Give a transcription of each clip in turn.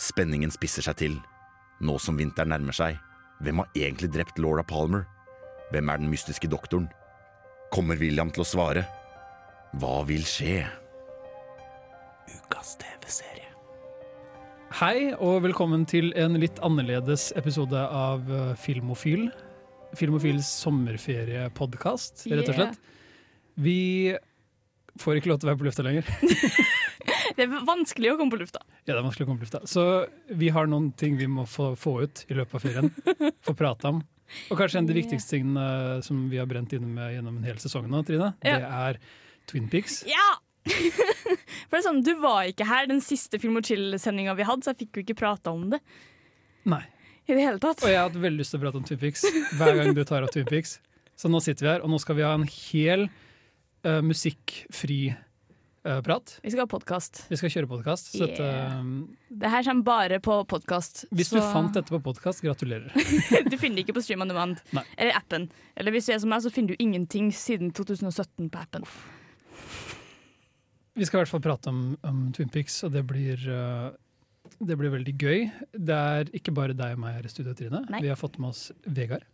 Spenningen spisser seg til. Nå som vinteren nærmer seg, hvem har egentlig drept Laura Palmer? Hvem er den mystiske doktoren? Kommer William til å svare? Hva vil skje? Ukas TV-serie. Hei, og velkommen til en litt annerledes episode av eh, Filmofil. Filmofils sommerferiepodkast, rett og slett. Vi får ikke lov til å være på lufta lenger. Yeah. Det er vanskelig å komme på lufta. Ja, det er vanskelig å komme på lufta. Så vi har noen ting vi må få, få ut i løpet av ferien. Få prate om. Og kanskje en av de Yeah. viktigste tingene som vi har brent inne med gjennom en hel sesong nå, Trine, Ja. det er Twin Peaks. Ja! For det er sånn, Du var ikke her den siste Film og chill-sendinga vi hadde, så jeg fikk jo ikke prata om det. Nei. I det hele tatt. Og jeg har hatt veldig lyst til å prate om Twin Peaks hver gang du tar opp Twin Peaks. Så nå sitter vi her, og nå skal vi ha en hel eh, musikkfri eh, prat. Vi skal ha podkast. Vi skal kjøre podkast. Så dette, Yeah. Det her kommer bare på podkast. hvis du fant dette på podkast, gratulerer. Du finner det ikke på Stream on Demand Nei. eller appen. Eller hvis du er som meg, så finner du ingenting siden 2017 på appen. Vi skal i hvert fall prate om, om Twin Peaks, og det blir, eh, det blir veldig gøy. Det er ikke bare deg og meg her i studio, Trine. Nei. Vi har fått med oss Vegard.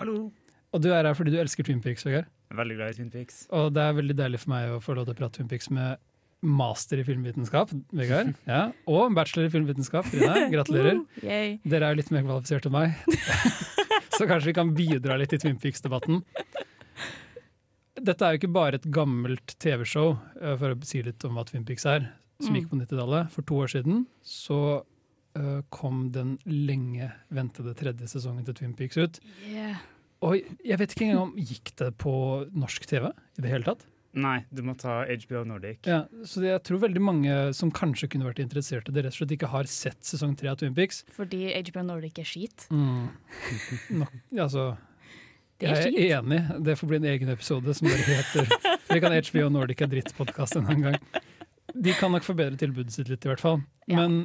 Hallo. Og du er her fordi du elsker Twin Peaks, Vegard. Veldig glad i Twin Peaks. Og det er veldig deilig for meg å få lov til å prate Twin Peaks med master i filmvitenskap, Vegard. Ja. Og bachelor i filmvitenskap, Trine. Gratulerer. Yay. Dere er jo litt mer kvalifisert enn meg, så kanskje vi kan bidra litt i Twin Peaks-debatten. Dette er jo ikke bare et gammelt TV-show, eh, for å si litt om hva Twin Peaks er, som gikk på 90-tallet. For to år siden så eh, kom den lenge ventede tredje sesongen til Twin Peaks ut. Yeah. Og jeg vet ikke engang om gikk det på norsk TV i det hele tatt. Nei, du må ta HBO Nordic. Ja, så det- jeg tror veldig mange som kanskje kunne vært interessert i det, rett og slett ikke har sett sesong tre av Twin Peaks. Fordi HBO Nordic er skit. Nok, altså, Det jeg er er skit. enig. Det får bli en egen episode som bare heter Vi kan HBO Nordic er drittpodkast en annen gang. De kan nok forbedre tilbudet sitt litt, i hvert fall. Ja. Men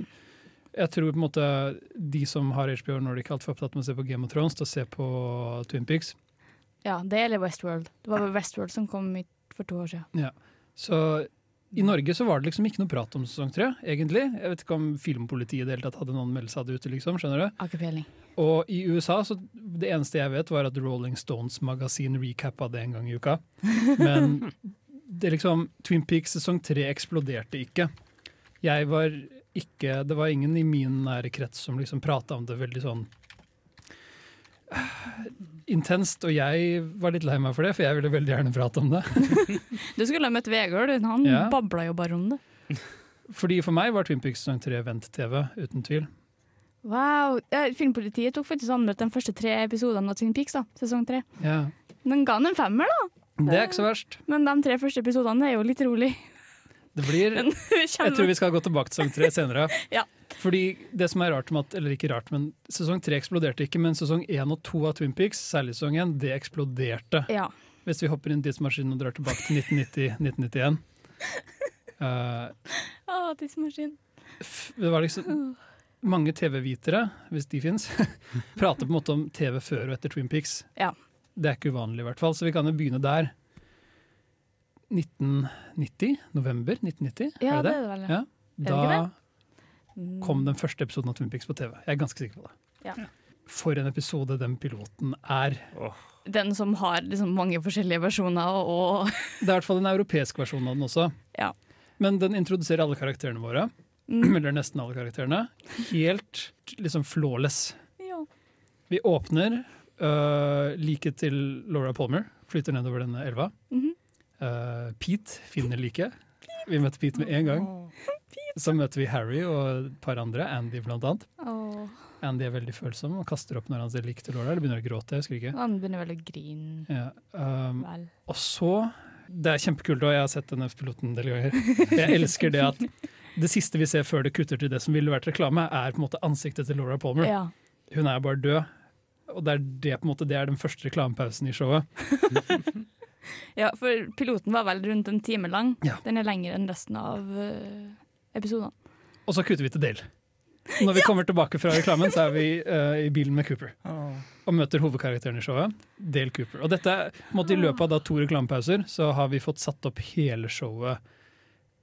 jeg tror på en måte de som har HBO Nordic, er altfor opptatt med å se på Game of Thrones til å se på Twin Peaks. Ja, det eller Westworld. Det var vel Westworld som kom i- for to år siden. Så i Norge så var det liksom ikke noe prat om sesong tre, egentlig. Jeg vet ikke om filmpolitiet i det hele tatt hadde noen meldelse av det ute, liksom. skjønner du? Har ikke peiling. Og i USA, så det eneste jeg vet, var at Rolling Stones magasin recappa det en gang i uka. Men det er liksom Twin Peaks sesong tre eksploderte ikke. Jeg var ikke Det var ingen i min nære krets som liksom prata om det veldig sånn eh, intenst, og jeg var litt lei meg for det, for jeg ville veldig gjerne prate om det. Du skulle ha møtt Vegard, du. han Ja. babla jo bare om det. Fordi For meg var Twin Peaks sesong tre vent-TV, uten tvil. Wow, eh, Filmpolitiet tok faktisk anmeldt de første tre episodene av Twin Peaks, da, sesong tre. Ja. Den ga den en femmer, da, Det er ikke så verst. men de tre første episodene er jo litt rolig. Det blir Jeg tror vi skal gå tilbake til sesong tre senere. Ja. Fordi det som er rart med at, eller ikke rart, men Sesong tre eksploderte ikke, men sesong én og to av Twin Peaks, særlig sesong én, det eksploderte. Ja. Hvis vi hopper inn i tidsmaskinen og drar tilbake til 1990-1991. Å, tidsmaskin. Eh, det var liksom Mange TV-vitere, hvis de fins, prater på en måte om TV før og etter Twin Peaks. Ja. Det er ikke uvanlig, i hvert fall. Så vi kan jo begynne der. 1990? November 1990? Ja, er det det? det er det vel. Ja. det Da ikke Mm. kom den første episoden av Twin Peaks på TV. Jeg er ganske sikker på det. Ja. For en episode den piloten er. Den som har liksom mange forskjellige versjoner og, og Det er i hvert fall en europeisk versjon av den også. Ja. Men den introduserer alle karakterene våre. Mm. Eller nesten alle karakterene. Helt liksom flawless. ja. Vi åpner øh, liket til Laura Palmer. Flyter nedover denne elva. Mhm. Øh, Pete finner liket. Vi møter Pete med en gang. Så møter vi Harry og et par andre. Andy blant annet. Å, Andy er veldig følsom og kaster opp når han ser likt til Laura. Eller begynner å gråte, jeg husker ikke. Han begynner vel å grine. Ja, um, Vel. og så Det er kjempekult, og jeg har sett denne piloten en del ganger. Jeg elsker det at det siste vi ser før det kutter til det som ville vært reklame, er på en måte ansiktet til Laura Palmer. Ja. Hun er bare død. Og det er, det, på en måte, det er den første reklamepausen i showet. ja, for piloten var vel rundt en time lang. Ja. Den er lengre enn resten av eh, episodene. Og så kutter vi til Dale. Når vi kommer tilbake fra reklamen, så er vi eh, i bilen med Cooper. og møter hovedkarakteren i showet, Dale Cooper. Og dette, er, på en måte, I løpet av da to reklamepauser så har vi fått satt opp hele showet.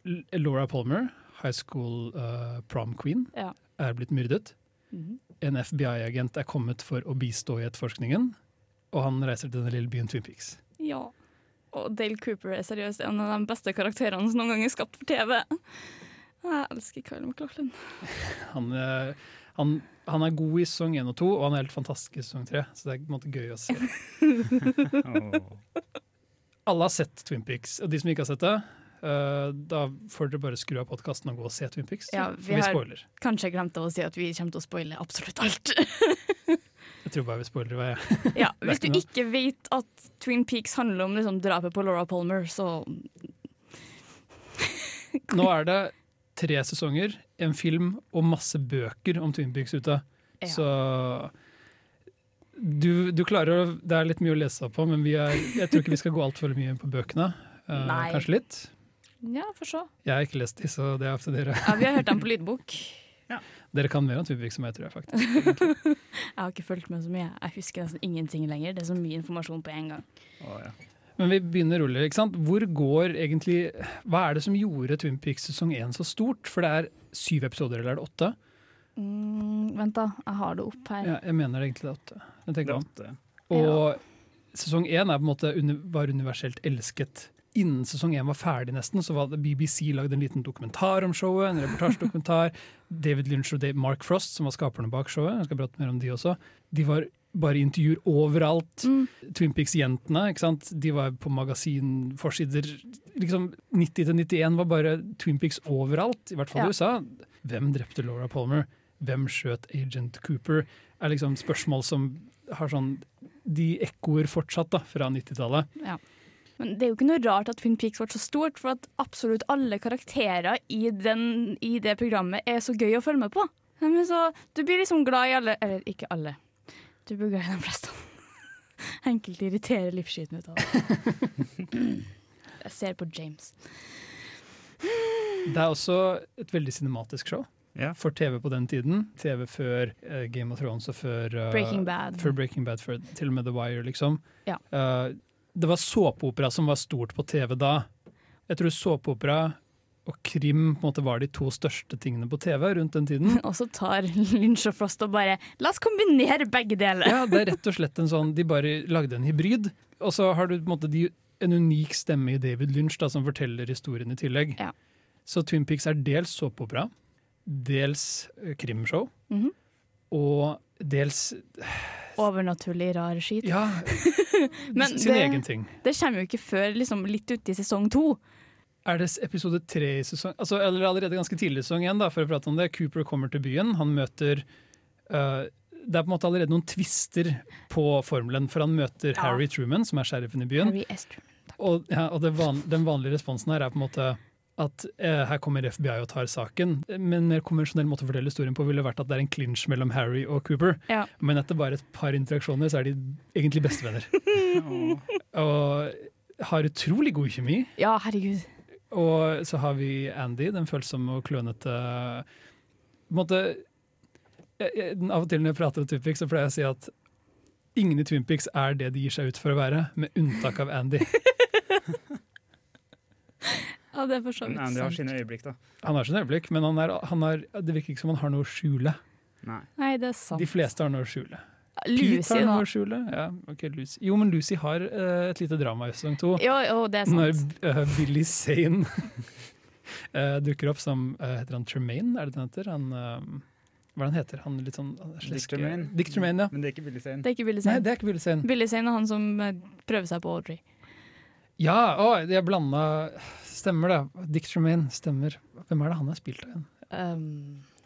L- Laura Palmer, high school eh, prom queen, Ja. er blitt myrdet. Mhm. En FBI-agent er kommet for å bistå i etterforskningen, og han reiser til den lille byen Twin Peaks. Ja. Og Dale Cooper er seriøst en av de beste karakterene som noen gang er skapt for TV. Jeg elsker Kyle McLaughlin. Han, eh, han, han er god i sesong én og to, og han er helt fantastisk i sesong tre. Så det er på en måte gøy å se. Åh. Alle har sett Twin Peaks, og de som ikke har sett det, eh, da får dere bare skru av podkasten og gå og se Twin Peaks. Ja, for vi vi har- spoiler. Kanskje jeg glemte å si at vi kommer til å spoile absolutt alt. Jeg tror bare vi spoiler hva jeg Ja, er Hvis du ikke noe. ikke vet at Twin Peaks handler om liksom, drapet på Laura Palmer, så Nå er det tre sesonger, en film og masse bøker om Twin Peaks ute. ja. Så du, du klarer å Det er litt mye å lese på, men vi er, jeg tror ikke vi skal gå altfor mye inn på bøkene. Eh, Nei. kanskje litt. ja, for så. Jeg har ikke lest de, så det er opp til dere. Ja, vi har hørt dem på lydbok. Dere kan mer om Twin Peaks enn meg, tror jeg faktisk. Jeg har ikke fulgt med så mye. Jeg husker nesten ingenting lenger. Det er så mye informasjon på en gang. Åh, ja. Men vi begynner rolig. ikke sant? Hvor går egentlig Hva er det som gjorde Twin Peaks sesong én så stort? For det er syv episoder, eller er det åtte? Mm, vent, da. Jeg har det opp her. Ja, jeg mener egentlig det er åtte. Jeg Det er tenker meg om. åtte. Og sesong én er på en måte uni- var universelt elsket. Innen sesong én var ferdig, nesten, så var det BBC lagde en liten dokumentar om showet. en reportasjedokumentar. David Lynch og Dave Mark Frost, som var skaperne bak showet, jeg skal prate mer om de også, de var bare i intervjuer overalt. Mm. Twin Peaks-jentene ikke sant? De var på magasinforsider. Liksom 90-91 var bare Twin Peaks overalt, i hvert fall Ja. i USA. Hvem drepte Laura Palmer? Hvem skjøt Agent Cooper? er liksom spørsmål som har sånn De ekkoer fortsatt da, fra 90-tallet. Men det er jo ikke noe rart at Twin Peaks ble så stort, for at absolutt alle karakterer i, den, i det programmet er så gøy å følge med på. Ja, Men så, du blir liksom glad i alle Eller ikke alle. Du blir glad i de fleste. Enkelte irriterer livsskiten ut av det. Jeg ser på James. Det er også et veldig cinematisk show Ja. for TV på den tiden. TV før eh, Game of Thrones og før eh, Breaking Bad. Før Breaking Bad, før, til og med The Wire, liksom. Ja. Eh, det var såpeopera som var stort på TV da. Jeg tror såpeopera og krim på en måte var de to største tingene på TV rundt den tiden. Og så tar Lynch og Frost og bare La oss kombinere begge deler! Ja, det er rett og slett en sånn De bare lagde en hybrid. Og så har du på en måte de, en unik stemme i David Lynch da, som forteller historien i tillegg. Ja. Så Twin Peaks er dels såpeopera, dels eh, krimshow, Mhm. og dels Overnaturlig, rar skit. ja, Men sin det- egen ting. Det kommer jo ikke før liksom, litt ute i sesong to. Er det episode tre i sesong altså, Eller allerede ganske tidlig i sesong én, da, for å prate om det. Cooper kommer til byen, han møter eh, det er på en måte allerede noen tvister på formelen, for han møter Ja. Harry Truman, som er sheriffen i byen. Harry Esther. Og, ja, og det van, den vanlige responsen her er på en måte at eh, her kommer FBI og tar saken. Men en mer konvensjonell måte å fortelle historien på ville vært at det er en clinch mellom Harry og Cooper. Ja. Men etter bare et par interaksjoner så er de egentlig bestevenner. Åh. og har utrolig god kjemi. Ja, herregud. Og så har vi Andy, den følsomme og klønete på en måte, jeg, jeg, Av og til når jeg prater om Twin Peaks, så pleier jeg å si at ingen i Twin Peaks er det de gir seg ut for å være, med unntak av Andy. Ja, det er for så Men vidt Andy har sant. sine øyeblikk, da. Han har sine øyeblikk, men han er, han er, det virker ikke som han har noe å skjule. Nei. Nei, det er sant. De fleste har noe å skjule. Pete Lucy, har da. noe å skjule. Ja, ok, Lucy. Jo, men Lucy har eh, et lite drama i sesong to. Jo, jo, det er sant. Når eh, Billy Zane eh, dukker opp som eh, Heter han Tremaine, er det det han heter? Han, eh, hva er det han heter? Han litt sånn han er Dick sleske- Tremaine. Dick Tremaine, ja. Men det er ikke Billy Zane. Det er ikke Billy Nei, Zane. det er ikke Billy Zane. Billy Zane er han som eh, prøver seg på Audrey. Ja, å, jeg blanda Stemmer det. Dick Tremaine stemmer. Hvem er det han har spilt av igjen? Um,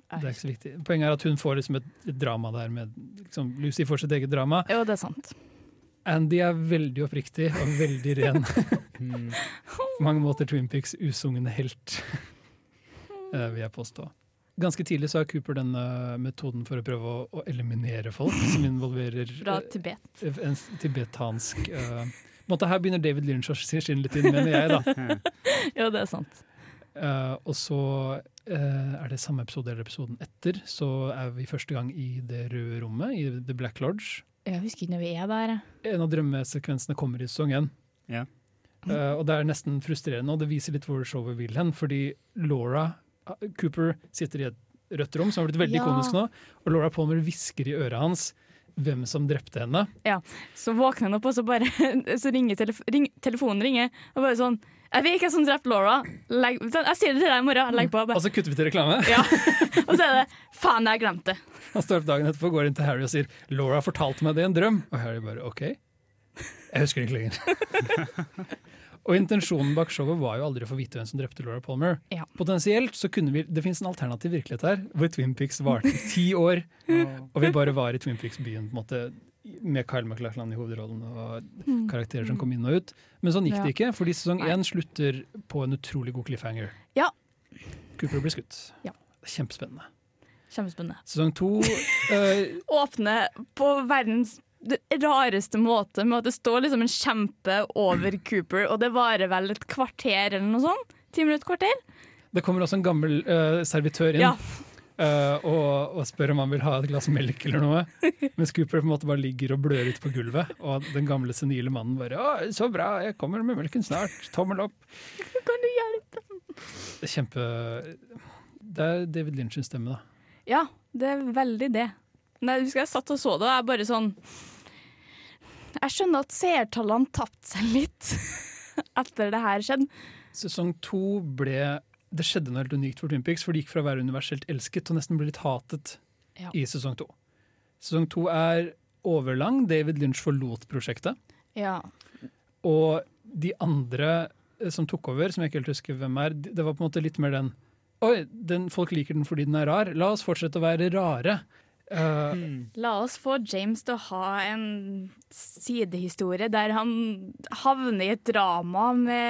Det er ikke så viktig. Poenget er at hun får liksom et, et drama der med liksom, Lucy får sitt eget drama. jo, det er sant. Andy er veldig oppriktig og veldig ren. Mm. På mange måter Twin Peaks usungne helt, eh, vil jeg påstå. Ganske tidlig så har Cooper denne eh, metoden for å prøve å, å eliminere folk, som involverer Fra Tibet. eh, en s- tibetansk eh, på en måte Her begynner David Lynch å sk- skinne litt inn, mener jeg. da. Jo, det er sant. Eh, og så eh, er det samme episode eller episoden etter, så er vi første gang i det røde rommet, i The Black Lodge. Jeg husker ikke når vi er der. jeg. En av drømmesekvensene kommer i sesong én. Ja. Eh, og det er nesten frustrerende, og det viser litt hvor showet vil hen. Fordi Laura eh, Cooper sitter i et rødt rom, som har blitt veldig Ja. ikonisk nå. Og Laura Palmer hvisker i øret hans hvem som drepte henne. Så våkner han opp, og så, bare, så ringer telef ring, telefonen ringer, og bare sånn Jeg vet ikke hvem som drepte Laura. Legg, sånn, jeg sier det til deg i morgen. Legg på. Bare. Altså kutter vi til reklame. Ja. Og så er det Faen, jeg glemte det. Han står opp dagen etterpå og går inn til Harry og sier 'Laura fortalte meg det i en drøm'. Og Harry bare 'OK, jeg husker det ikke lenger'. og intensjonen bak showet var jo aldri å få vite hvem som drepte Laura Palmer. Ja. Potensielt så kunne vi Det fins en alternativ virkelighet her, hvor Twin Pics varte i ti år, Åh. og vi bare var i Twin Pics-byen på en måte med Kyle MacLachlan i hovedrollen og karakterer som kom inn og ut. Men sånn gikk det ikke, fordi sesong Mm. Nei. én slutter på en utrolig god cliffhanger. Ja. Cooper blir skutt. Ja. Kjempespennende. Kjempespennende. Sesong to eh, Åpne på verdens det rareste måte, med at det står liksom en kjempe over Cooper, og det varer vel et kvarter eller noe sånt? Ti minutter, kvarter? Det kommer også en gammel eh, servitør inn Ja. eh, og, og spør om han vil ha et glass melk eller noe. Mens Cooper på en måte bare ligger og blør ut på gulvet. Og den gamle senile mannen bare Å, 'Så bra, jeg kommer med melken snart. Tommel opp'. Kan du hjelpe? Kjempe Det er David Lynchs stemme, da. Ja, det er veldig det. Nei, jeg husker jeg satt og så det, og jeg bare sånn Jeg skjønner at seertallene tapte seg litt etter det her skjedde. Sesong to ble Det skjedde noe helt unikt for Twin Peaks, for det gikk fra å være universelt elsket til å nesten bli litt hatet Ja. i sesong to. Sesong to er overlang. David Lynch forlot prosjektet. Ja. Og de andre eh, som tok over, som jeg ikke helt husker hvem er, de- det var på en måte litt mer den Oi, den, folk liker den fordi den er rar. La oss fortsette å være rare. Eh, La oss få James til å ha en sidehistorie der han havner i et drama med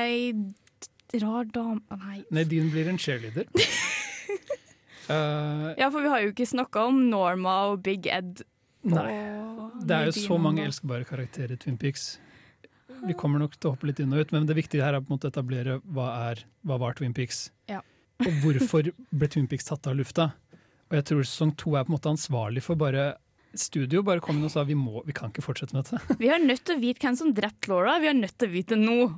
ei rar dame Nei. Nadine blir en cheerleader. Eh, Ja, for vi har jo ikke snakka om Norma og Big Ed. nei. og Det er jo så Nadine mange og- elskbare karakterer i Twin Peaks. Vi kommer nok til å hoppe litt inn og ut, men det viktige her er på en måte å etablere hva, er, hva var Twin Peaks. Ja. Og hvorfor ble Twin Peaks tatt av lufta. Og jeg tror sesong to er på en måte ansvarlig for bare Studio bare kom inn og sa vi, må, vi kan ikke fortsette med dette. Vi er nødt til å vite hvem som drepte Laura. Vi er nødt til å vite det nå.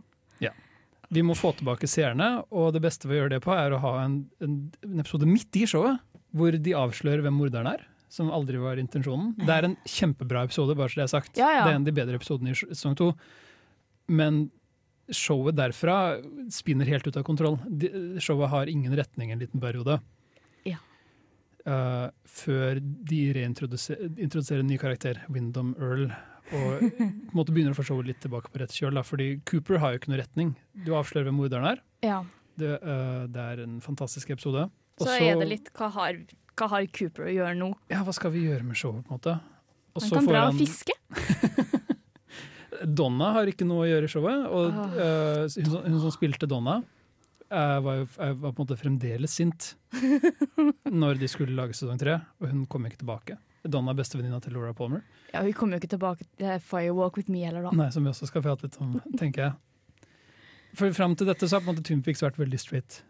Vi må få tilbake seerne, og det beste vi gjør det på, er å ha en, en, en episode midt i showet hvor de avslører hvem morderen er. Som aldri var intensjonen. Det er en kjempebra episode, bare så det er sagt. Ja, ja. Det er en av de bedre episodene i sesong to. Men showet derfra spinner helt ut av kontroll. De, showet har ingen retning en liten periode. Ja. Eh, før de reintroduserer introduserer en ny karakter, Windom Earl, og på en måte begynner å få showet litt tilbake på rett kjøl. Da, fordi Cooper har jo ikke noe retning. Du avslører hvem morderen er. Ja. Det, øh, det er en fantastisk episode. Og Så er det litt hva har, hva har Cooper å gjøre nå? Ja, hva skal vi gjøre med showet, på en måte? Og Han så kan får dra og han fiske. Donna har ikke noe å gjøre i showet. Og Ah. øh, hun, som- hun som spilte Donna, eh, var, jo, eh, var på en måte fremdeles sint når de skulle lage sesong tre, og hun kom ikke tilbake. Donna er bestevenninna til Laura Palmer, Ja, Hun kommer jo ikke tilbake til Firewalk with me heller, da. Nei, som vi også skal prate litt om, tenker jeg. For Fram til dette så har på en måte Twin Peaks vært veldig straight.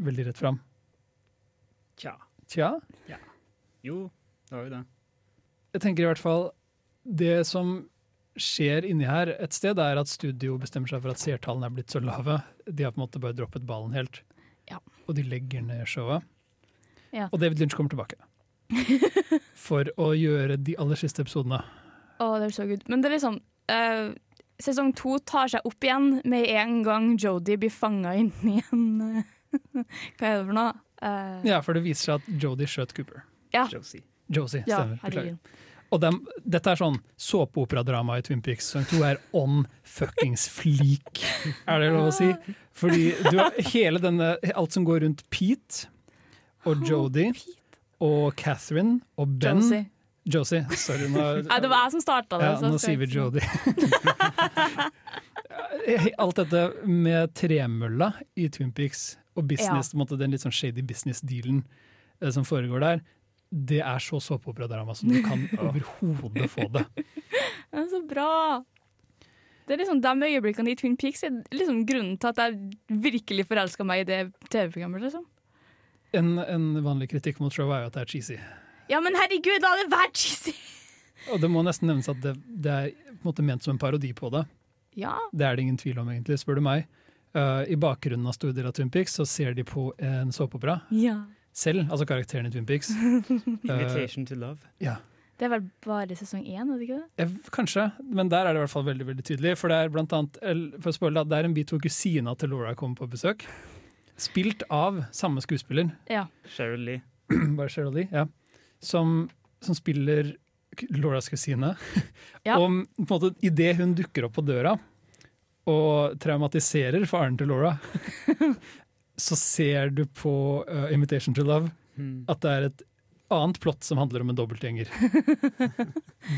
Veldig rett fram. Tja. Tja. Jo, det var jo det. jeg tenker i hvert fall Det som skjer inni her et sted, er at studio bestemmer seg for at seertallene er blitt så lave. De har på en måte bare droppet ballen helt. Ja. Og de legger ned showet. Ja. Og David Lynch kommer tilbake. For å gjøre de aller siste episodene. Å, det er så good. Men det er liksom eh, Sesong to tar seg opp igjen med en gang Jodie blir fanga inni en eh, Hva er det for noe? Eh, Ja, for det viser seg at Jodie skjøt Cooper. Josie. Josie, ja, stemmer. Beklager. herregud. Og dem, dette er sånn såpeoperadrama i Twin Peaks. Sesong to er on fuckings flik, er det lov å si? Fordi du har hele denne Alt som går rundt Pete og Jodie og Catherine og Ben Josie. Josie, sorry. Nå, Nei, det var jeg som starta det. ja, så nå skal sier vi jeg ikke- Jodie. Alt dette med tremølla i Twin Peaks og business, på en måte, den litt sånn shady business-dealen eh, som foregår der, det er så såpeoperadrama som du kan overhodet få det. Det er så bra! Det er liksom De øyeblikkene i Twin Peaks er liksom grunnen til at jeg virkelig forelska meg i det TV-programmet. liksom. En, en vanlig kritikk mot showet er jo at det er cheesy. Ja, men herregud, la det være cheesy! Og det må nesten nevnes at det, det er på en måte ment som en parodi på det. Ja. Det er det ingen tvil om, egentlig, spør du meg. Eh, I bakgrunnen av store deler av Twin Peaks så ser de på en såpeopera. selv, altså karakteren i Twin Peaks. Eh. Invitation to love. Ja, Det er vel bare sesong én, er det ikke det? jeg, kanskje, men der er det i hvert fall veldig veldig tydelig. For det er blant annet, el- for å spoile, det, det er en bit hvor kusina til Laura kommer på besøk. Spilt av samme skuespiller, Ja. Cheryl Lee. bare Cheryl Lee, ja, som, som spiller k- Lauras kusine. Ja. Og på en måte, idet hun dukker opp på døra og traumatiserer faren til Laura, så ser du på eh, 'Invitation to Love' Hmm. at det er et annet plott som handler om en dobbeltgjenger.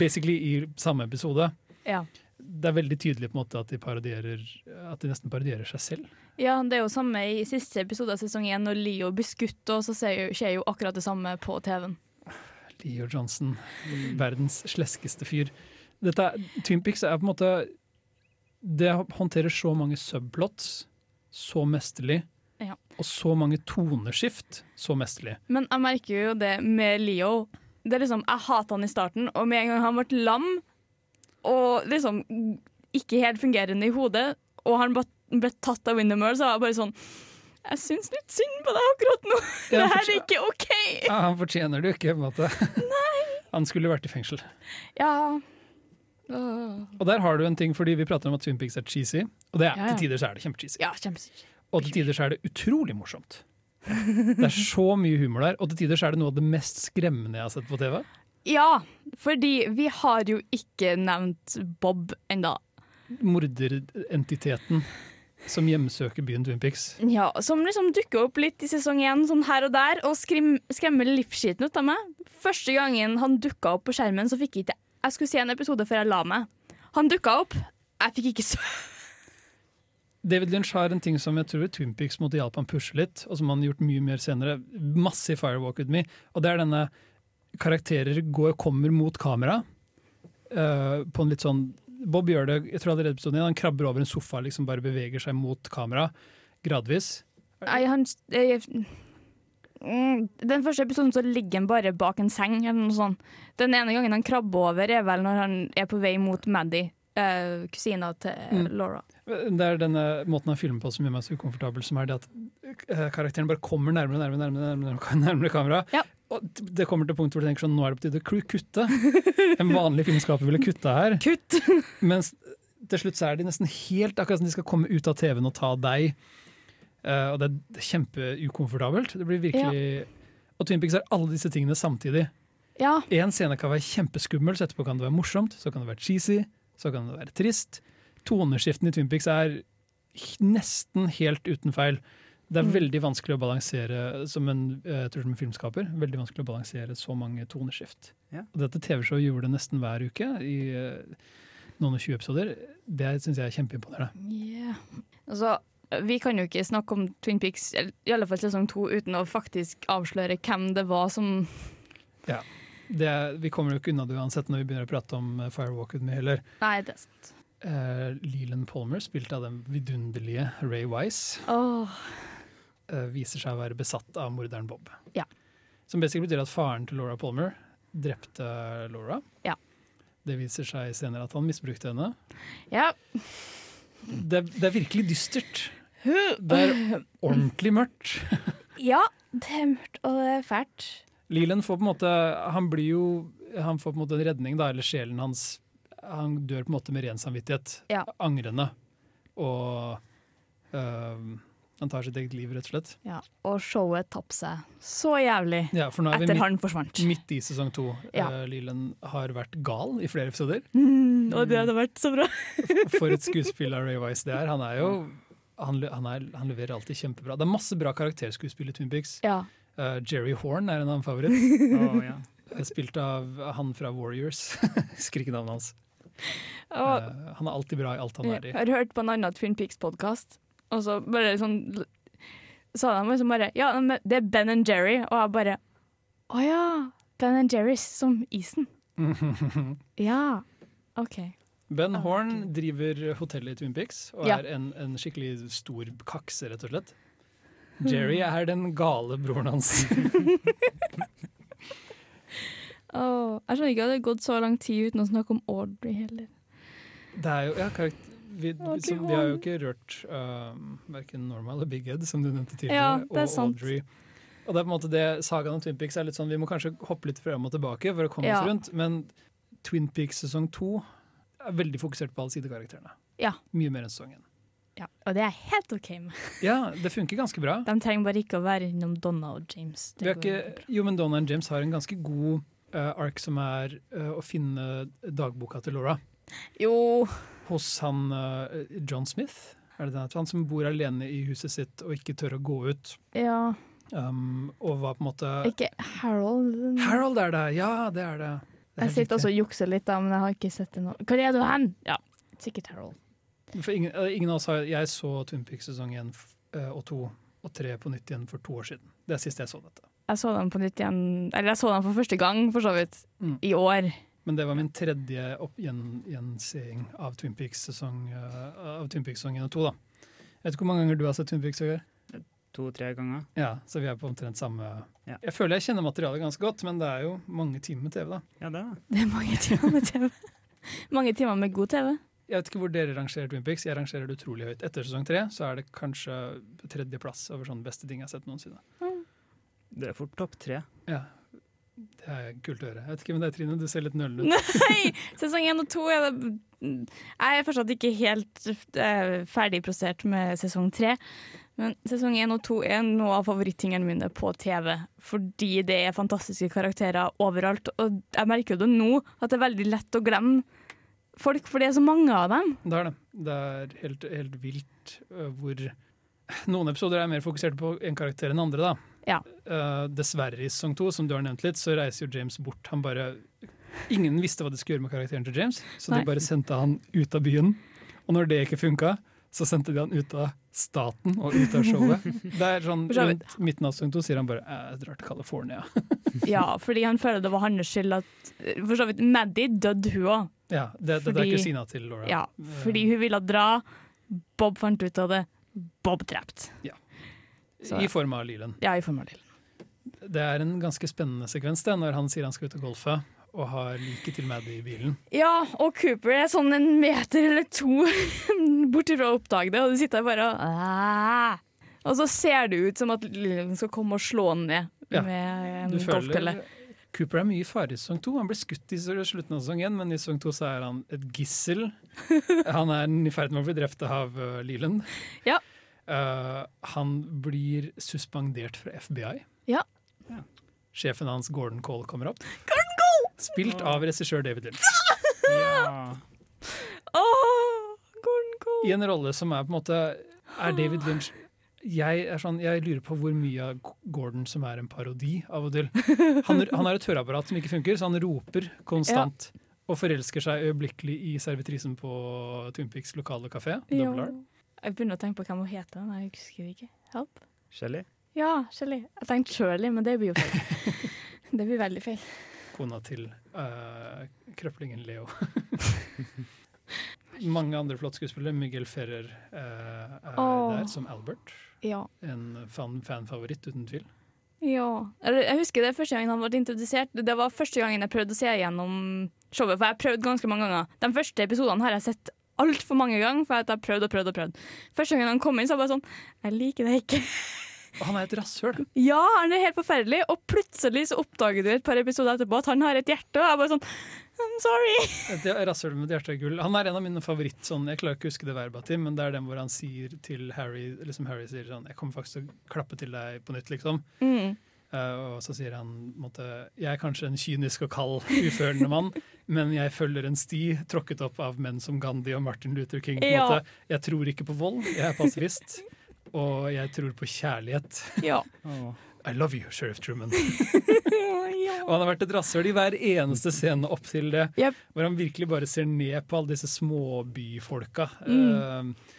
Basically i samme episode. ja. Det er veldig tydelig på en måte at de parodierer At de nesten parodierer seg selv. Ja, det er jo samme i siste episode av sesong én, når Leo blir skutt, og så ser jo, skjer jo akkurat det samme på TV-en. Leo Johnson, verdens sleskeste fyr. Dette, er- Twin Peaks er på en måte Det håndterer så mange subplots så mesterlig, Ja. og så mange toneskift så mesterlig. Men jeg merker jo det med Leo. Det er liksom, Jeg hata han i starten, og med en gang han ble lam og liksom ikke helt fungerende i hodet, og han ble, ble tatt av Windermere, så var jeg bare sånn Jeg syns litt synd på deg akkurat nå! Ja, det her er fortsatt. ikke OK! Ja, han fortjener det jo ikke, på en måte. Han skulle vært i fengsel. Ja. Og der har du en ting, fordi vi prater om at Twin Peaks er cheesy, og det er, Ja, ja. til tider så er det kjempecheesy. ja kjempesykt. Og til tider så er det utrolig morsomt. Det er så mye humor der, og til tider så er det noe av det mest skremmende jeg har sett på TV. Ja, fordi vi har jo ikke nevnt Bob enda. Morderentiteten som hjemsøker byen Twin Peaks. Ja, Som liksom dukker opp litt i sesong én, sånn her og der, og skrim, skremmer livsskiten ut av meg. Første gangen han dukka opp på skjermen, så fikk jeg ikke Jeg skulle se en episode før jeg la meg. Han dukka opp. Jeg fikk ikke sove. David Lynch har en ting som jeg tror Twin Peaks måtte hjelpe han pushe litt, og som han har gjort mye mer senere. Masse i Firewalk With Me. Og det er denne karakterer går, kommer mot kamera eh, på en litt sånn Bob gjør det, jeg tror allerede i episoden, han krabber over en sofa liksom bare beveger seg mot kamera, gradvis. Nei, han jeg, mm, Den første episoden så ligger han bare bak en seng, eller noe sånt. Den ene gangen han krabber over, er vel når han er på vei mot Maddie, eh, kusina til eh, Mm. Laura. Det er denne måten han filmer på som gjør meg så ukomfortabel, som er det at eh, karakteren bare kommer nærmere og nærmere, nærmere, nærmere, nærmere kamera. Ja. Og t- det kommer til punktet hvor du tenker sånn, nå er det på tide å kru- kutte. En vanlig filmskaper ville kutta her. Kutt! Mens til slutt så er de nesten helt akkurat som de skal komme ut av TV-en og ta deg. Eh, og det er kjempeukomfortabelt. Det blir virkelig Og Twin Peaks er alle disse tingene samtidig. Ja. Én scene kan være kjempeskummel, så etterpå kan det være morsomt, så kan det være cheesy, så kan det være trist. Toneskiftene i Twin Peaks er h- nesten helt uten feil. Det er Mm. veldig vanskelig å balansere som en, eh, jeg tror som en filmskaper, veldig vanskelig å balansere så mange toneskift. Ja. Og dette TV-showet gjorde det nesten hver uke i eh, noen og 20 episoder. Det syns jeg er kjempeimponerende. Yeah. Altså, vi kan jo ikke snakke om Twin Peaks, eller i alle fall sesong to, uten å faktisk avsløre hvem det var som Det, er- vi kommer jo ikke unna det uansett når vi begynner å prate om eh, Firewalk With Me heller. Nei, det er sant. Eh, Leland Palmer, spilt av den vidunderlige Ray Wise. Åh. eh, viser seg å være besatt av morderen Bob. Ja. Som basically betyr at faren til Laura Palmer drepte Laura. Ja. Det viser seg senere at han misbrukte henne. Ja. Det, det er virkelig dystert. Det er ordentlig mørkt. ja, det er mørkt og det er fælt. Leland får på en måte Han blir jo Han får på en måte en redning, da, eller sjelen hans Han dør på en måte med ren samvittighet. Ja. Angrende. Og øhm, han tar sitt eget liv, rett og slett. Ja, Og showet tapte seg så jævlig Ja, for nå er vi etter midt, han forsvant. midt i sesong to. Ja. Eh, Leland har vært gal i flere episoder. Mm, og det hadde vært så bra. For et skuespill av Ray Wise det er. Han er jo han, le- han, er, han leverer alltid kjempebra. Det er masse bra karakterskuespill i Twin Peaks. Ja. Eh, Jerry Horn er en annen favoritt. Å, ja. Eh, Spilt av han fra Warriors. Husker ikke navnet hans. Og Eh, han er alltid bra i alt han er jeg i. har hørt på en annen Twin Peaks-podkast, og så bare sånn sa de liksom bare Ja, men det er Ben and Jerry, og jeg bare Å ja. Ben and Jerry's som isen. Ja. OK. Ben Horn driver hotellet i Twin Peaks og Ja. er en, en skikkelig stor kakse, rett og slett. Jerry er den gale broren hans. Åh, jeg skjønner ikke at det har gått så lang tid uten å snakke om Audrey heller. Det er jo, ja, karakter, vi, Audrey som, vi har jo ehm, Horne. ikke rørt um, verken Norma eller Big Ed, som du nevnte tidligere, Ja, det er og sant. Audrey. Og det er på en måte det sagaen om Twin Peaks er litt sånn, vi må kanskje hoppe litt frem og tilbake for å komme Ja. oss rundt, men Twin Peaks sesong to er veldig fokusert på alle sidekarakterene. Ja. Mye mer enn sesongen. ja. Og det er jeg helt OK med. Ja, det funker ganske bra. De trenger bare ikke å være innom Donna og James. Vi har ikke, jo, men Donna og James har en ganske god eh, ark som er eh, å finne dagboka til Laura Jo, hos han eh, John Smith. Er det den? heter? Han som bor alene i huset sitt og ikke tør å gå ut. ja Um, og var på en måte Ikke Harold. Harold er det! Ja, det er det. Det er Jeg helt sitter riktig. også og jukser litt, da, men jeg har ikke sett det nå. Hvor er du hen? Ja, sikkert Harold. For ingen, eh, ingen av oss har, jeg så Twin Peaks-sesong én og to og tre på nytt igjen for to år siden. Det er sist jeg så dette. Jeg så dem på nytt igjen Eller jeg så dem for første gang, for så vidt. Mm. I år. Men det var min tredje opp, gjen, gjenseing av Twin Peaks-sesong eh, av Twin Peaks-sesong én og to. Da. Jeg vet ikke hvor mange ganger du har sett Twin Peaks? Vegard? To-tre ganger. Ja, så vi er på omtrent samme Ja. Jeg føler jeg kjenner materialet ganske godt, men det er jo mange timer med TV, da. Ja, det. Det er mange timer med TV. mange timer med god TV. Jeg vet ikke hvor dere rangerer Twin Peaks, jeg rangerer det utrolig høyt. Etter sesong tre så er det kanskje tredjeplass over sånne beste ting jeg har sett noensinne. Det er fort topp tre. Ja, Det er kult å høre. Jeg vet ikke med deg, Trine, du ser litt nølende ut. Nei! Sesong én og to er det Jeg er fortsatt ikke helt eh, ferdig prosessert med sesong tre. Men sesong én og to er noe av favorittingene mine på TV. Fordi det er fantastiske karakterer overalt. Og jeg merker jo det nå, at det er veldig lett å glemme folk, for det er så mange av dem. Det er det. Det er helt, helt vilt øh, hvor Noen episoder er mer fokusert på en karakter enn andre, da. Ja. Eh, dessverre, i sesong to, som du har nevnt litt, så reiser jo James bort. Han bare Ingen visste hva de skulle gjøre med karakteren til James, så Nei. de bare sendte han ut av byen. Og når det ikke funka, så sendte de han ut av staten og ut av showet. Det er sånn For så vidt. Rundt midten av sesong to sier han bare "Eh, 'jeg drar til California'. Ja, fordi han føler det var hans skyld at For så vidt, Maddie døde hun òg. Ja, det, det, det er Fordi- kusina til Laura. Ja, fordi hun ville dra. Bob fant ut av det. Bob drept. så- I form av Leland. Ja, i formål til. Det er en ganske spennende sekvens det, når han sier han skal ut og golfe og har liket til Maddie i bilen. Ja, og Cooper er sånn en meter eller to borti fra å oppdage det, og du sitter der bare og «Æ». Og så ser det ut som at Lillian skal komme og slå han ned Ja. med Du en golfpille. Cooper er mye i fare i sesong to. Han ble skutt i slutten av sesong én, men i sesong to så er han et gissel. Han er i ferd med å bli drept av uh, Leland. Ja. Eh, han blir suspendert fra FBI. Ja. Ja. Sjefen hans, Gordon Cole, kommer opp. Spilt av regissør David Lynch. Ja. Åh, Gordon i Cole. en rolle som er på en måte Er David Lynch jeg, er sånn, jeg lurer på hvor mye av Gordon som er en parodi av og til. Han, han har et høreapparat som ikke funker, så han roper konstant. Og forelsker seg øyeblikkelig i servitrisen på Twin Peaks lokale kafé. Ja. Double R. Jeg begynner å tenke på hvem hun heter, men jeg husker det ikke. Help. Shelly? Ja, Shelly. Jeg tenkte Shirley, men det blir jo feil. det blir veldig feil. Kona til eh, krøplingen Leo. Mange andre flotte skuespillere. Miguel Ferrer eh, er Åh. der som Albert. Ja. En fan fanfavoritt, uten tvil. ja. Eller, Jeg husker det første gangen han ble introdusert. Det var første gangen jeg prøvde å se gjennom showet, for jeg har prøvd ganske mange ganger. De første episodene har jeg sett altfor mange ganger, for jeg har prøvd og prøvd og prøvd. Første gangen han kom inn, så var jeg bare sånn Jeg liker det ikke. Og han er et rasshøl! Ja, han er helt forferdelig, og plutselig så oppdager du et par episoder etterpå at han har et hjerte, og jeg er bare sånn I'm sorry. Det er Rasshøl med hjertet av gull. Han er en av mine favoritt, sånn, jeg klarer ikke å huske det verbatim, men det er den hvor han sier til Harry liksom Harry sier sånn, jeg kommer faktisk til å klappe til deg på nytt, liksom. Mm. Eh, og så sier han på en måte, jeg er kanskje en kynisk og kald, uførende mann, men jeg følger en sti tråkket opp av menn som Gandhi og Martin Luther King. På en Ja. måte. Jeg tror ikke på vold, jeg er pasifist, og jeg tror på kjærlighet. Ja. Åh. I love you, Sheriff Truman. ja. Og han har vært et rasshøl i hver eneste scene opp til det. Jep. Hvor han virkelig bare ser ned på alle disse småbyfolka. Mm. Eh,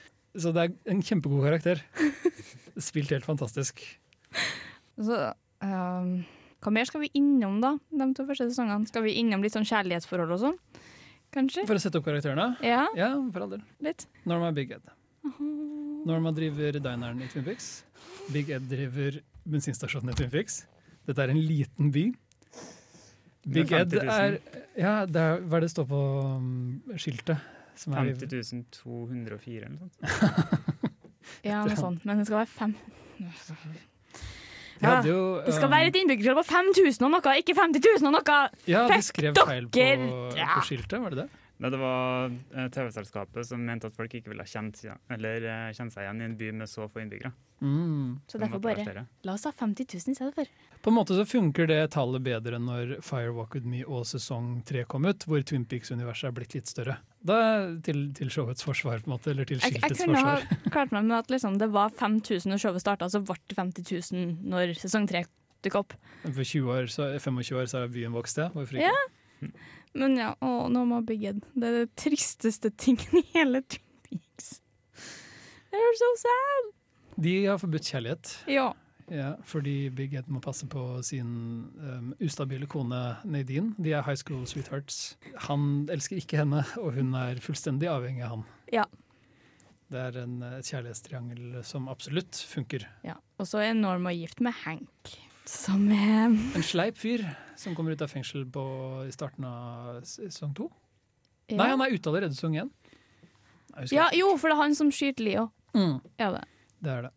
Så det er en kjempegod karakter. Spilt helt fantastisk. Så, ehm, hva mer skal vi innom, da? De to første sesongene. Skal vi innom litt sånn kjærlighetsforhold og sånn? Kanskje? For å sette opp karakterene. Ja, Ja, for all del. litt. Norma er Big Ed. Mhm. Norma driver dineren i Twin Peaks. Big Ed driver bensinstasjonen i Twin Peaks. Dette er en liten by. Det er Big Ed 50 000. er Ja, det er hva er det står på mm, skiltet? Som er i- 50 204 eller noe sånt. Ja, noe sånt. Men det skal være fem. De hadde jo Ah, Det skal um, være et innbyggertall på 5000 og noe, ikke 50 000 og noe! Ja, de Fuck skrev feil på, dere! Ja. på skiltet, var det det? Nei, det var eh, TV-selskapet som mente at folk ikke ville kjent, seg- eller, eh, kjenne seg igjen i en by med så få innbyggere. Mm. Så Det derfor måtte være bare flere. La oss ha 50 000 i stedet for. På en måte så funker det tallet bedre når Firewalk With Me og sesong tre kom ut, hvor Twin Peaks-universet er blitt litt større. Da til, til showets forsvar, på en måte, eller til Jeg, jeg skiltets kunne ha forsvar. klart meg med at liksom, det var 5000 når showet starta, så ble det 50 000 når sesong tre dukka opp. For 20 år, så, 25 år så er byen vokst, ja. Hvorfor ikke? Ja. Men ja, å, no more big head. Det er det tristeste tingen i hele Twin Peaks. They're so sad. De har forbudt kjærlighet, Ja. ja, fordi Big Ed må passe på sin um, ustabile kone Nadine. De er high school sweethearts. Han elsker ikke henne, og hun er fullstendig avhengig av han. Ja. Det er en eh, kjærlighetstriangel som absolutt funker. ja. Og så er Norma gift med Hank, som er En sleip fyr som kommer ut av fengsel på, i starten av sesong to. ja. Nei, han er ute allerede i sesong én. Jeg husker ja, jo, for det er han som skyter Leo. ikke. Mm, Er det. det er det.